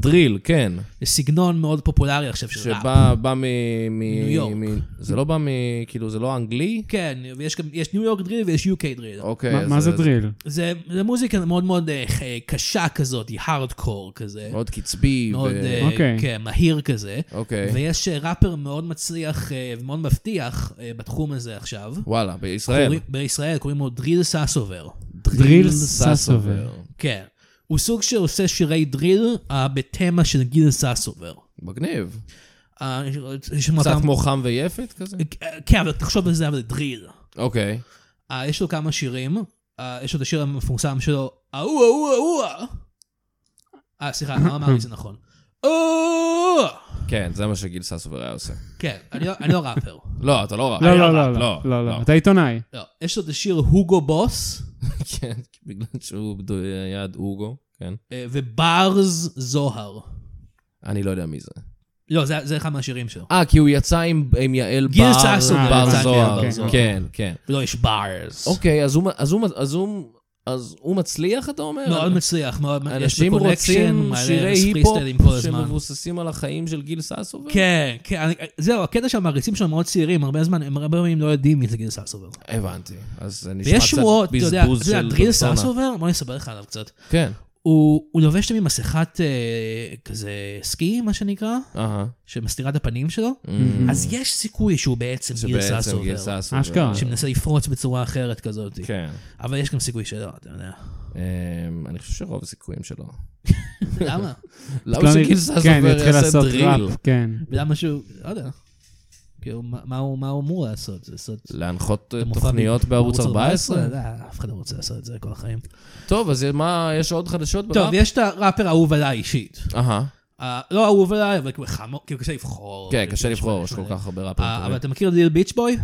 דריל, כן.
זה סגנון מאוד פופולרי עכשיו של ראפ.
שבא בא מ... מ-
ניו לא. יורק.
מ- זה לא בא מ... כאילו, זה לא אנגלי?
כן, ויש גם, יש ניו יורק דריל ויש UK דריל.
אוקיי.
מה-
אז-
מה זה
אז
דריל?
לא. זה, זה מוזיקה מאוד מאוד אה, אה, קשה כזאת, היא הארדקור כזה.
מאוד קצבי. ו-
מאוד, אה,
אוקיי.
כן, מהיר כזה.
אוקיי.
ויש אה, ראפר מאוד מצליח אה, ומאוד מבטיח אה, בתחום הזה עכשיו.
וואלה, בישראל.
קוראים- בישראל קוראים לו דריל סאסובר.
דריל ססובר.
כן. הוא סוג שעושה שירי דריל אה, בתמה של גיל סאסובר.
מגניב.
אה, יש שם
קצת
כמה-
כמו חם ויפת כזה?
אה, כן, אבל תחשוב על זה, אבל דריל.
אוקיי.
אה, יש לו כמה שירים, אה, יש לו את השיר המפורסם שלו, אהו אהו אהו אה. אה, סליחה, לא אמרתי זה נכון. אהו!
כן, זה מה שגיל ססובר היה עושה.
כן, אני לא- אני לא ראפר.
לא, אתה לא ראפ.
לא,
אני
לא,
ראפ,
לא, לא, לא, לא. אתה עיתונאי.
לא, יש לו את השיר הוגו בוס,
כן, בגלל שהוא בדו- היה עד אוגו, כן.
אה, וברז זוהר.
אני לא יודע מי זה.
לא, זה זה אחד מהשירים שלו.
אה, כי הוא יצא עם עם יעל
גיל
בר-
ססובר
בר
יצא עם
זוהר.
יעל בר
כן, כן.
ולא, יש ברז.
אוקיי, אז הוא- אז הוא- אז הוא- אז הוא מצליח, אתה אומר?
מאוד מצליח, מאוד, יש לו
אנשים
קונקשן,
רוצים
מלא
שירי היפ-הופ
פריסטיילים כל הזמן.
שמבוססים על החיים של גיל ססובר?
כן, כן, אני- זהו, הקטע שהמעריצים שלו מאוד צעירים, הרבה זמן, הם הרבה פעמים לא יודעים מי זה גיל ססובר.
הבנתי. אז זה נשמע
ויש
קצת
שמועות, אתה יודע,
בזבוז
אתה
של
יודע, דריל
פרסונה.
ססובר, בוא אני אספר לך עליו קצת.
כן.
הוא הוא לובש תמיד מסכת אה, כזה סקי, מה שנקרא,
אהה. Mm-hmm.
שמסתירה את הפנים שלו, אז יש סיכוי שהוא בעצם גיל
שבעצם Mm. גיל
ססובר,
ססובר.
אשכרה.
שמנסה לפרוץ בצורה אחרת כזאת.
כן.
אבל יש גם סיכוי שלא, אתה יודע.
אמ, אני חושב שרוב הסיכויים שלו.
למה?
למה שגיל
כן,
ססובר
יתחיל
יעשה
לעשות
דריל?
ראפ, כן.
למה שהוא, לא יודע. כאילו, מה מה הוא מה הוא אמור לעשות? זה לעשות
להנחות אה,
מופע
תוכניות
ב-
בערוץ 14?
לא, אף אחד לא רוצה לעשות את זה כל החיים.
טוב, אז מה, יש עוד חדשות בראפ?
טוב, יש את הראפר האהוב עליי אישית.
אהה.
אה, לא אהוב עליי, אבל כאילו חמו- כאילו קשה לבחור.
כן,
כאילו,
קשה
תשמע,
לבחור, יש
תשמע,
כל כך הרבה
אה,
ראפרים
אבל
טובים.
אתה מכיר את ליל ביץ' בוי?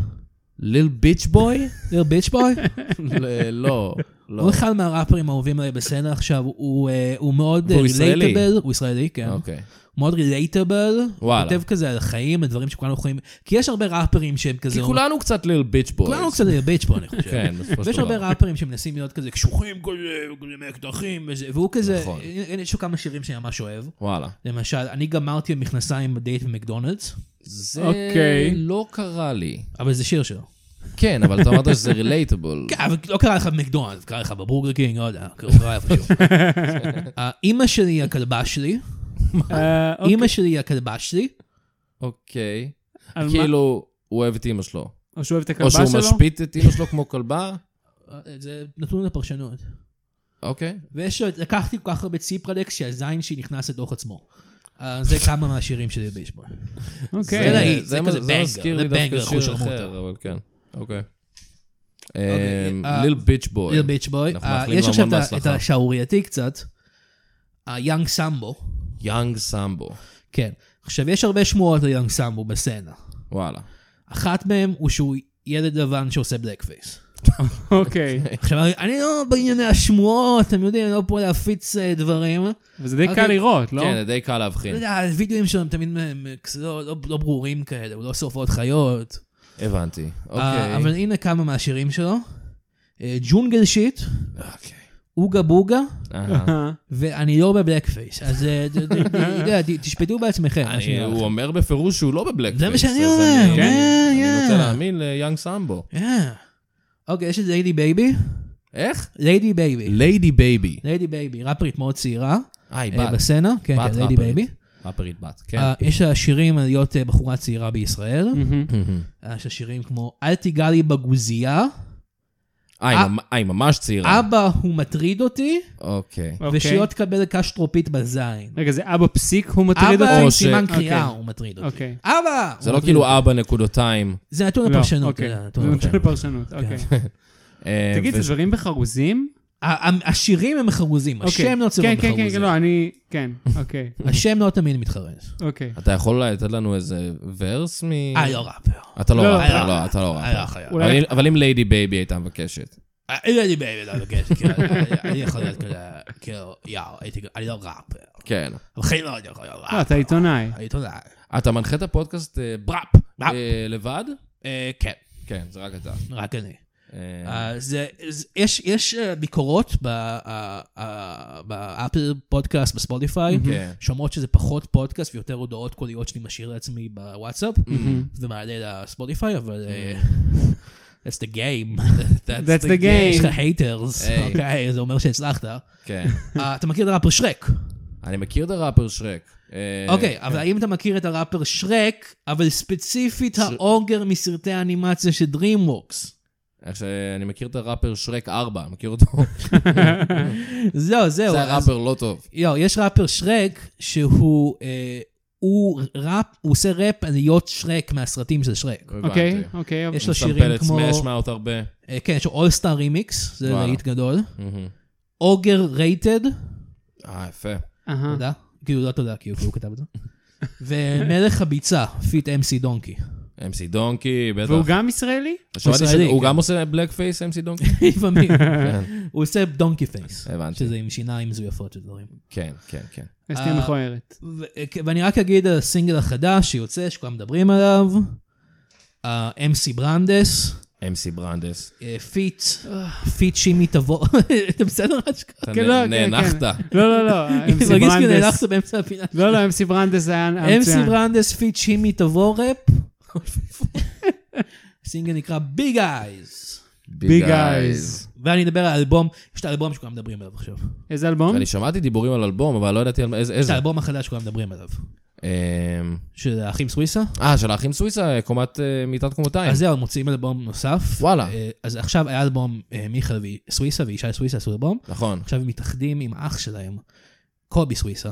ליל ביץ' בוי?
ליל ביץ' בוי?
ל- לא, לא.
הוא אחד מהראפרים האהובים עליי בסצנה עכשיו, הוא אה, הוא מאוד
והוא ישראלי.
רילייטבל, הוא ישראלי, כן.
אוקיי.
מאוד רילייטבל.
וואלה.
כותב כזה על חיים, על דברים שכולנו יכולים... כי יש הרבה ראפרים שהם כזה...
כי כולנו קצת ליל ביץ' בויז.
לא- כולנו קצת ביץ' פה, אני חושב.
כן, בסופו של
ויש הרבה
דבר.
ראפרים שמנסים להיות כזה קשוחים כזה, כזה מאקדחים וזה, והוא כזה,
נכון.
הנה, יש לו כמה שירים שאני ממש אוהב.
וואלה.
למשל, אני גמרתי עם מכנסיים בדייט במקדונלדס,
זה
אוקיי.
לא קרה לי.
אבל זה שיר שלו.
כן, אבל אתה אמרת שזה רילייטבול.
כן, אבל לא קרה לך במקדונלדס, קרה לך בבורגר קינג, לא יודע, קרה קרה איפשהו. אימא שלי היא הכלבה שלי,
אה, אוקיי.
אימא שלי היא הכלבה שלי,
אוקיי.
על מה?
כאילו, הוא אוהב את אימא שלו.
או שהוא אוהב את הכלבה
או שהוא
שלו?
משפיט את אימא שלו כמו כלבה?
אה, זה נתון לפרשנות.
אוקיי.
ויש, עוד- לקחתי כל כך הרבה ציפרלקס שהזין שלי נכנס לתוך עצמו. אה, זה כמה מהשירים שלי בישבון.
אוקיי.
זה להיט, זה
מה-
כזה
זה
בנגר,
מזכיר לי
זה
דווקא
בנגר,
שיר
אחושרמוטה.
אחר, אבל כן. אוקיי. אמ,
אה,
ליל ביץ' בוי.
ליל ביץ' בוי.
אנחנו
אה,
מאחלים
יש
לו
עכשיו
המון
את ה- את
בהצלחה.
השערורייתי קצת. היאנג סמבו.
יאנג סמבו.
כן. עכשיו, יש הרבה שמועות על יאנג סמבו בסצנה.
וואלה.
אחת מהן הוא שהוא ילד לבן שעושה בלק פייס.
אוקיי.
כן.
עכשיו, אני- אני לא בענייני השמועות, אתם יודעים, אני לא פה להפיץ אה, דברים.
וזה די קל
אוקיי.
לראות, לא?
כן, זה די קל
אתה
להבחין.
יודע, הווידאוים שלהם תמיד מ- מ- כזה לא לא- לא ברורים כאלה, הוא לא שורפות חיות.
הבנתי.
אה,
אוקיי.
אבל הנה כמה מהשירים שלו. אה, ג'ונגל שיט,
אוקיי.
אוגה בוגה, אה,
אהה.
אה,
ואני לא בבלק פייס. אז אה, ת- ת- ת- יודע, ת- תשפטו בעצמכם. מה
אני-
שנראה
הוא
לכם.
אומר בפירוש שהוא לא בבלק פייס.
זה מה שאני
אז
אומר,
אני-
כן,
אני
כן.
רוצה להאמין ליאנג סמבו.
אה. אוקיי, יש את ליידי בייבי.
איך?
ליידי בייבי.
ליידי בייבי.
ליידי בייבי, ראפרית מאוד צעירה.
אה, היא
אה,
בת.
בסצנה. כן,
בת
כן, ליידי
ראפרית.
בייבי.
ראפרית בת, כן. Mm.
אה, יש לה שירים על להיות אה, בחורה צעירה בישראל.
מהמם.
אה, יש לה שירים כמו אל תיגע לי בגוזייה,
אה, היא ממ- אה, היא ממש צעירה.
אבא הוא מטריד אותי,
אוקיי.
אוקיי.
ושלא תקבל קש טרופית בזין.
רגע, זה אבא פסיק הוא מטריד
אבא
אותו?
עם
או ש-
סימן
אוקיי.
קריאה הוא מטריד אותי.
אוקיי.
אבא!
זה
הוא
לא
מטריד
כאילו
אותי.
ארבע נקודותיים.
זה נתון
לא,
לפרשנות.
אוקיי.
אתה יודע,
זה
נתון
נתון
לפרשנות.
לפרשנות, אוקיי.
אה,
תגיד,
ו-
זה דברים בחרוזים?
ה- ה- השירים הם חרוזים,
אוקיי.
השם לא צבע
כן, כן, כן,
בחרוזים.
לא, אני... כן, אוקיי.
השם לא תמיד מתחרז.
אוקיי.
אתה יכול אולי לתת לנו איזה ורס מ...
אה, לא ראפר.
אתה לא
לא,
ראפר,
לא.
לא, אתה לא
אה, לא
ראפר.
חייב.
אולי-
אבל אם- אבל אם ליידי בייבי הייתה מבקשת.
אה, אין לי בעיה, לא מבקש, כאילו, אני יכול להיות כזה, כאילו, יאו, הייתי, אני לא ראפר.
כן.
בחיים לא הייתי יכול להיות ראפר.
אה, אתה עיתונאי.
אני עיתונאי.
אתה מנחה את הפודקאסט אה, בראפ
בראפ.
אה, לבד?
אה, כן,
כן, זה רק אתה.
רק אני.
אה,
אה, זה- זה- יש- יש אה, ביקורות ב- אה, אה, באפל פודקאסט, בספוטיפיי,
כן.
שאומרות שזה פחות פודקאסט ויותר הודעות קוליות שאני משאיר לעצמי בוואטסאפ, ומעלה לספוטיפיי, אבל... אה, That's the game.
That's the
יש לך
game.
haters,
היי.
אוקיי, זה אומר שהצלחת.
כן.
אה, אתה מכיר את הראפר שרק.
אני מכיר את הראפר שרק. אה,
אוקיי, אבל האם אתה מכיר את הראפר שרק, אבל ספציפית האוגר מסרטי האנימציה של DreamWorks?
איך שאני מכיר את הראפר שרק 4, מכיר אותו?
זהו, זהו.
זה
אז-
הראפר לא טוב.
לא, יש ראפר שרק שהוא... אה, הוא ראפ, הוא עושה ראפ על להיות שרק מהסרטים של שרק.
אוקיי,
הבנתי.
אוקיי.
יש
הוא שם
לו שירים
פלט
כמו-
סמאש מאוט הרבה.
אה, כן, יש לו אולסטאר רימיקס, זה
וואלה.
להיט גדול.
מהמם.
אוגר רייטד,
אה, יפה.
אהה.
תודה. כאילו, לא תודה, כאילו, כי הוא כתב את זה. ומלך הביצה, פיט אמסי דונקי.
אמסי דונקי, בטח.
והוא גם ישראלי?
שמעתי
ישראלי,
שהוא
כן.
גם עושה בלק פייס אמסי דונקי?
לפעמים.
כן,
הוא עושה דונקי פייס.
הבנתי.
שזה עם שיניים מזויפות ודברים.
כן, כן, כן.
יש לי
אה.
מכוערת.
ו- ואני רק אגיד על הסינגל החדש שיוצא, שכולם מדברים עליו, אה, אמסי ברנדס,
אמסי ברנדס.
אה, פיט, פיט שימי תבוא, אתה בסדר אשכרה?
אתה
כן, לא,
נ-
כן,
נאנחת.
לא, לא, לא,
אני
אמסי
מרגיש כאילו
ברנדס.
הלכת באמצע הפינה.
לא, לא, אמסי ברנדס היה
אמסי
מצוין.
ברנדס, פיט שימי תבוא ראפ. הסינגל נקרא ביג אייז.
ביג
Eyes.
ואני אדבר על אלבום, יש את האלבום שכולם מדברים עליו עכשיו.
איזה
נכון.
אלבום?
אני שמעתי דיבורים על אלבום, אבל לא ידעתי על איזה-
יש את
איזה.
האלבום החדש שכולם מדברים עליו.
אמ,
של האחים סוויסה.
אה, של האחים סוויסה, קומת אה, מיטת קומותיים.
אז זהו, הם מוציאים אלבום נוסף.
וואלה.
אה, אז עכשיו היה אלבום, אה, מיכאל וסוויסה וישי סוויסה עשו אלבום.
נכון.
עכשיו הם מתאחדים עם אח שלהם, קובי סוויסה.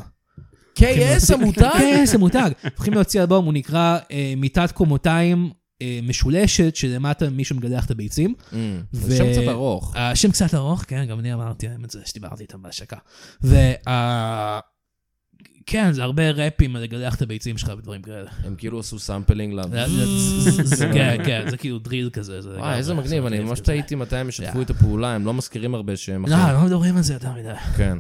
KS המותג?
כן, זה מותג. הולכים להוציא אלבום, הוא נקרא אה, מיטת קומותיים אה, משולשת, שלמטה מישהו מגלח את הביצים.
אמ,
ו-
זה שם קצת ארוך.
השם קצת ארוך, כן, גם אני אמרתי להם את זה, שדיברתי איתם בהשקה. וה... כן, זה הרבה ראפים על לגלח את הביצים שלך ודברים כאלה.
הם כאילו עשו סאמפלינג ל...
זה- זה- זה- זה- כן, כן, זה כאילו דריל כזה. זה
וואי,
לגמרי,
איזה מגניב,
זה
אני
מגניב
ממש
כזה.
תהיתי מתי הם ישתפו את הפעולה, הם לא מזכירים הרבה שהם
לא,
אחים.
לא מדברים על זה יותר מדי.
כן.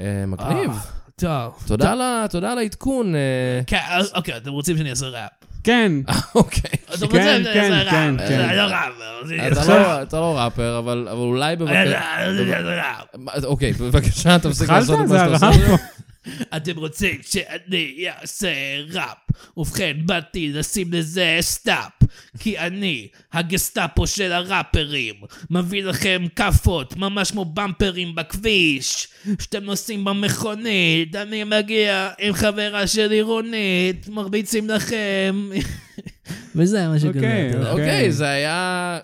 אה, מגניב.
אה, טוב.
תודה על ה- תודה על העדכון. אה.
כן, אז- אוקיי, אתם רוצים שאני אעשה ראפ.
כן,
אוקיי.
אתם רוצים שאני
כן,
אעשה ראפ.
כן, כן.
אני לא ראפ. אבל אני-
אתה לא- אתה לא ראפר, אבל אבל אולי
אני-
בבקשה...
אני אעשה ראפ.
מה- אוקיי, בבקשה, תפסיק
התחלת?
לעשות את מה
זה
שאתה
הרב
עושה.
פה.
אתם רוצים שאני אעשה ראפ. ובכן, באתי לשים לזה סטאפ. כי אני, הגסטאפו של הראפרים, מביא לכם כאפות, ממש כמו במפרים בכביש. שאתם נוסעים במכונית, אני מגיע עם חברה שלי רונית, מרביצים לכם. וזה מה
אוקיי,
אתה יודע.
אוקיי, זה היה...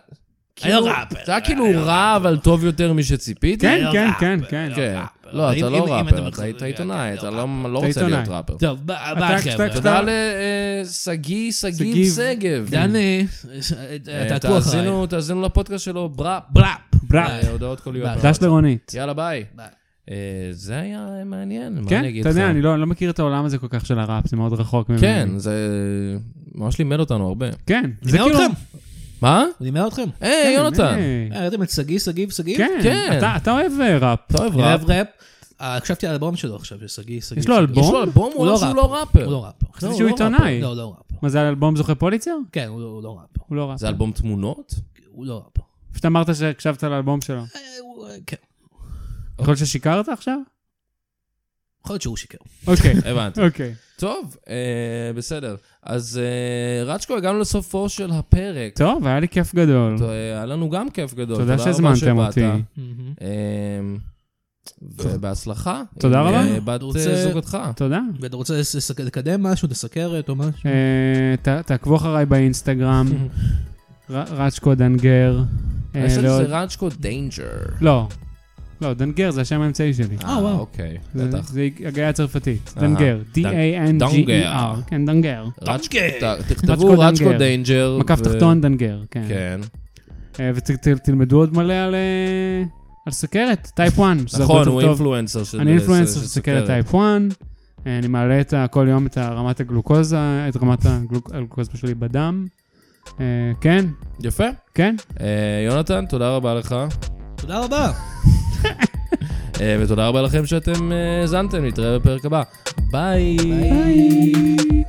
היה
כאילו-
ראפר.
זה היה כאילו רע, אבל טוב יותר משציפיתי.
כן,
לא
כן,
ראפ,
כן,
לא
כן.
כן.
ראפר.
לא,
אם-
אתה
אם-
לא
אם
ראפר,
אתם
אתה היית
מחזירים,
עיתונאי,
כן,
אתה
לא
לא
ראפר.
לא רוצה להיות
עיתונאי.
ראפר.
טוב, מה
אתה-
מה,
כשאתה-
חבר'ה?
כשאתה-
תודה לשגיא, שגיב
שגיב.
שגב.
דני,
אה,
תעקבו אחריי.
תאזינו- תאזינו לפודקאסט שלו, בראפ.
בראפ.
בראפ.
אה, הודעות קוליות.
ביי.
דש לרונית.
יאללה, ביי.
ביי.
אה, זה היה מעניין, מה
כן,
אני אגיד
אתה
לך?
יודע, אני לא אני לא מכיר את העולם הזה כל כך של הראפ, זה מאוד רחוק ממני.
כן, זה ממש לימד אותנו הרבה.
כן.
זה כאילו...
מה?
הוא לימד אתכם?
היי, יונתן.
היי.
אה, ראיתם את שגיא, שגיב, שגיב?
כן,
כן.
אתה- אתה אוהב אה, ראפ.
אתה אוהב
אני
ראפ?
אוהב ראפ. אה, הקשבתי לאלבום שלו עכשיו, של שגיא, שגיב.
יש לו
שגיב.
אלבום?
יש לו אלבום, הוא אמר שהוא לא
הוא
ראפר.
לא ראפר.
לא,
חשבתי שהוא
לא
עיתונאי.
לא, הוא לא ראפר.
מה זה, האלבום זוכה פוליצר?
כן, הוא לא- הוא לא ראפר.
הוא לא ראפ.
זה אלבום תמונות?
הוא לא ראפר.
פשוט אמרת שהקשבת לאלבום שלו.
אה, הוא- אה, כן.
אוקיי.
יכול להיות ששיקרת עכשיו?
יכול להיות שהוא שיקר.
אוקיי,
הבנתי.
אוקיי.
טוב, אה, בסדר. אז אה, רצ'קו, הגענו לסופו של הפרק.
טוב, היה לי כיף גדול.
טוב, אה, היה לנו גם כיף גדול.
תודה
רבה
שהזמנתם
שבאת.
אותי.
אה, ובהצלחה.
תודה
עם,
רבה.
אה, בת
רוצה-
אה, זוגתך.
תודה.
ואתה רוצה לס- לס- לקדם משהו, לסקר או משהו?
אה, ת- תעקבו אחריי באינסטגרם, ר- רצ'קו דנגר. אה,
אני חושב
לעוד-
שזה רצ'קו דיינג'ר.
לא. לא, דנגר זה השם האמצעי שלי.
אה, וואו.
אוקיי,
זה-
בטח. אה,
זה הגיה הצרפתית. דנגר.
דנגר.
D-A-N-G-E-R. כן, דנגר.
רצ'קו,
אוקיי.
ת- תכתבו
רצ'קו
רצ'קו
דנגר.
דיינג'ר.
מקף
ו-
תחתון דנגר, כן.
אה, כן.
אה, ותלמדו עוד מלא על, אה, על סכרת, טייפ 1, שזה הרבה
נכון,
יותר
הוא
טוב.
אינפלואנסר של
אני אינפלואנסר של
של
סכרת טייפ 1, אה, אני מעלה את ה- כל יום את ה- רמת הגלוקוזה, את רמת הגלוק- הגלוקוזה שלי בדם. אה, כן,
יפה.
כן.
אה, יונתן, תודה רבה לך.
תודה רבה.
אה, ותודה רבה לכם שאתם אה, האזנתם, נתראה בפרק הבא. ביי.
ביי.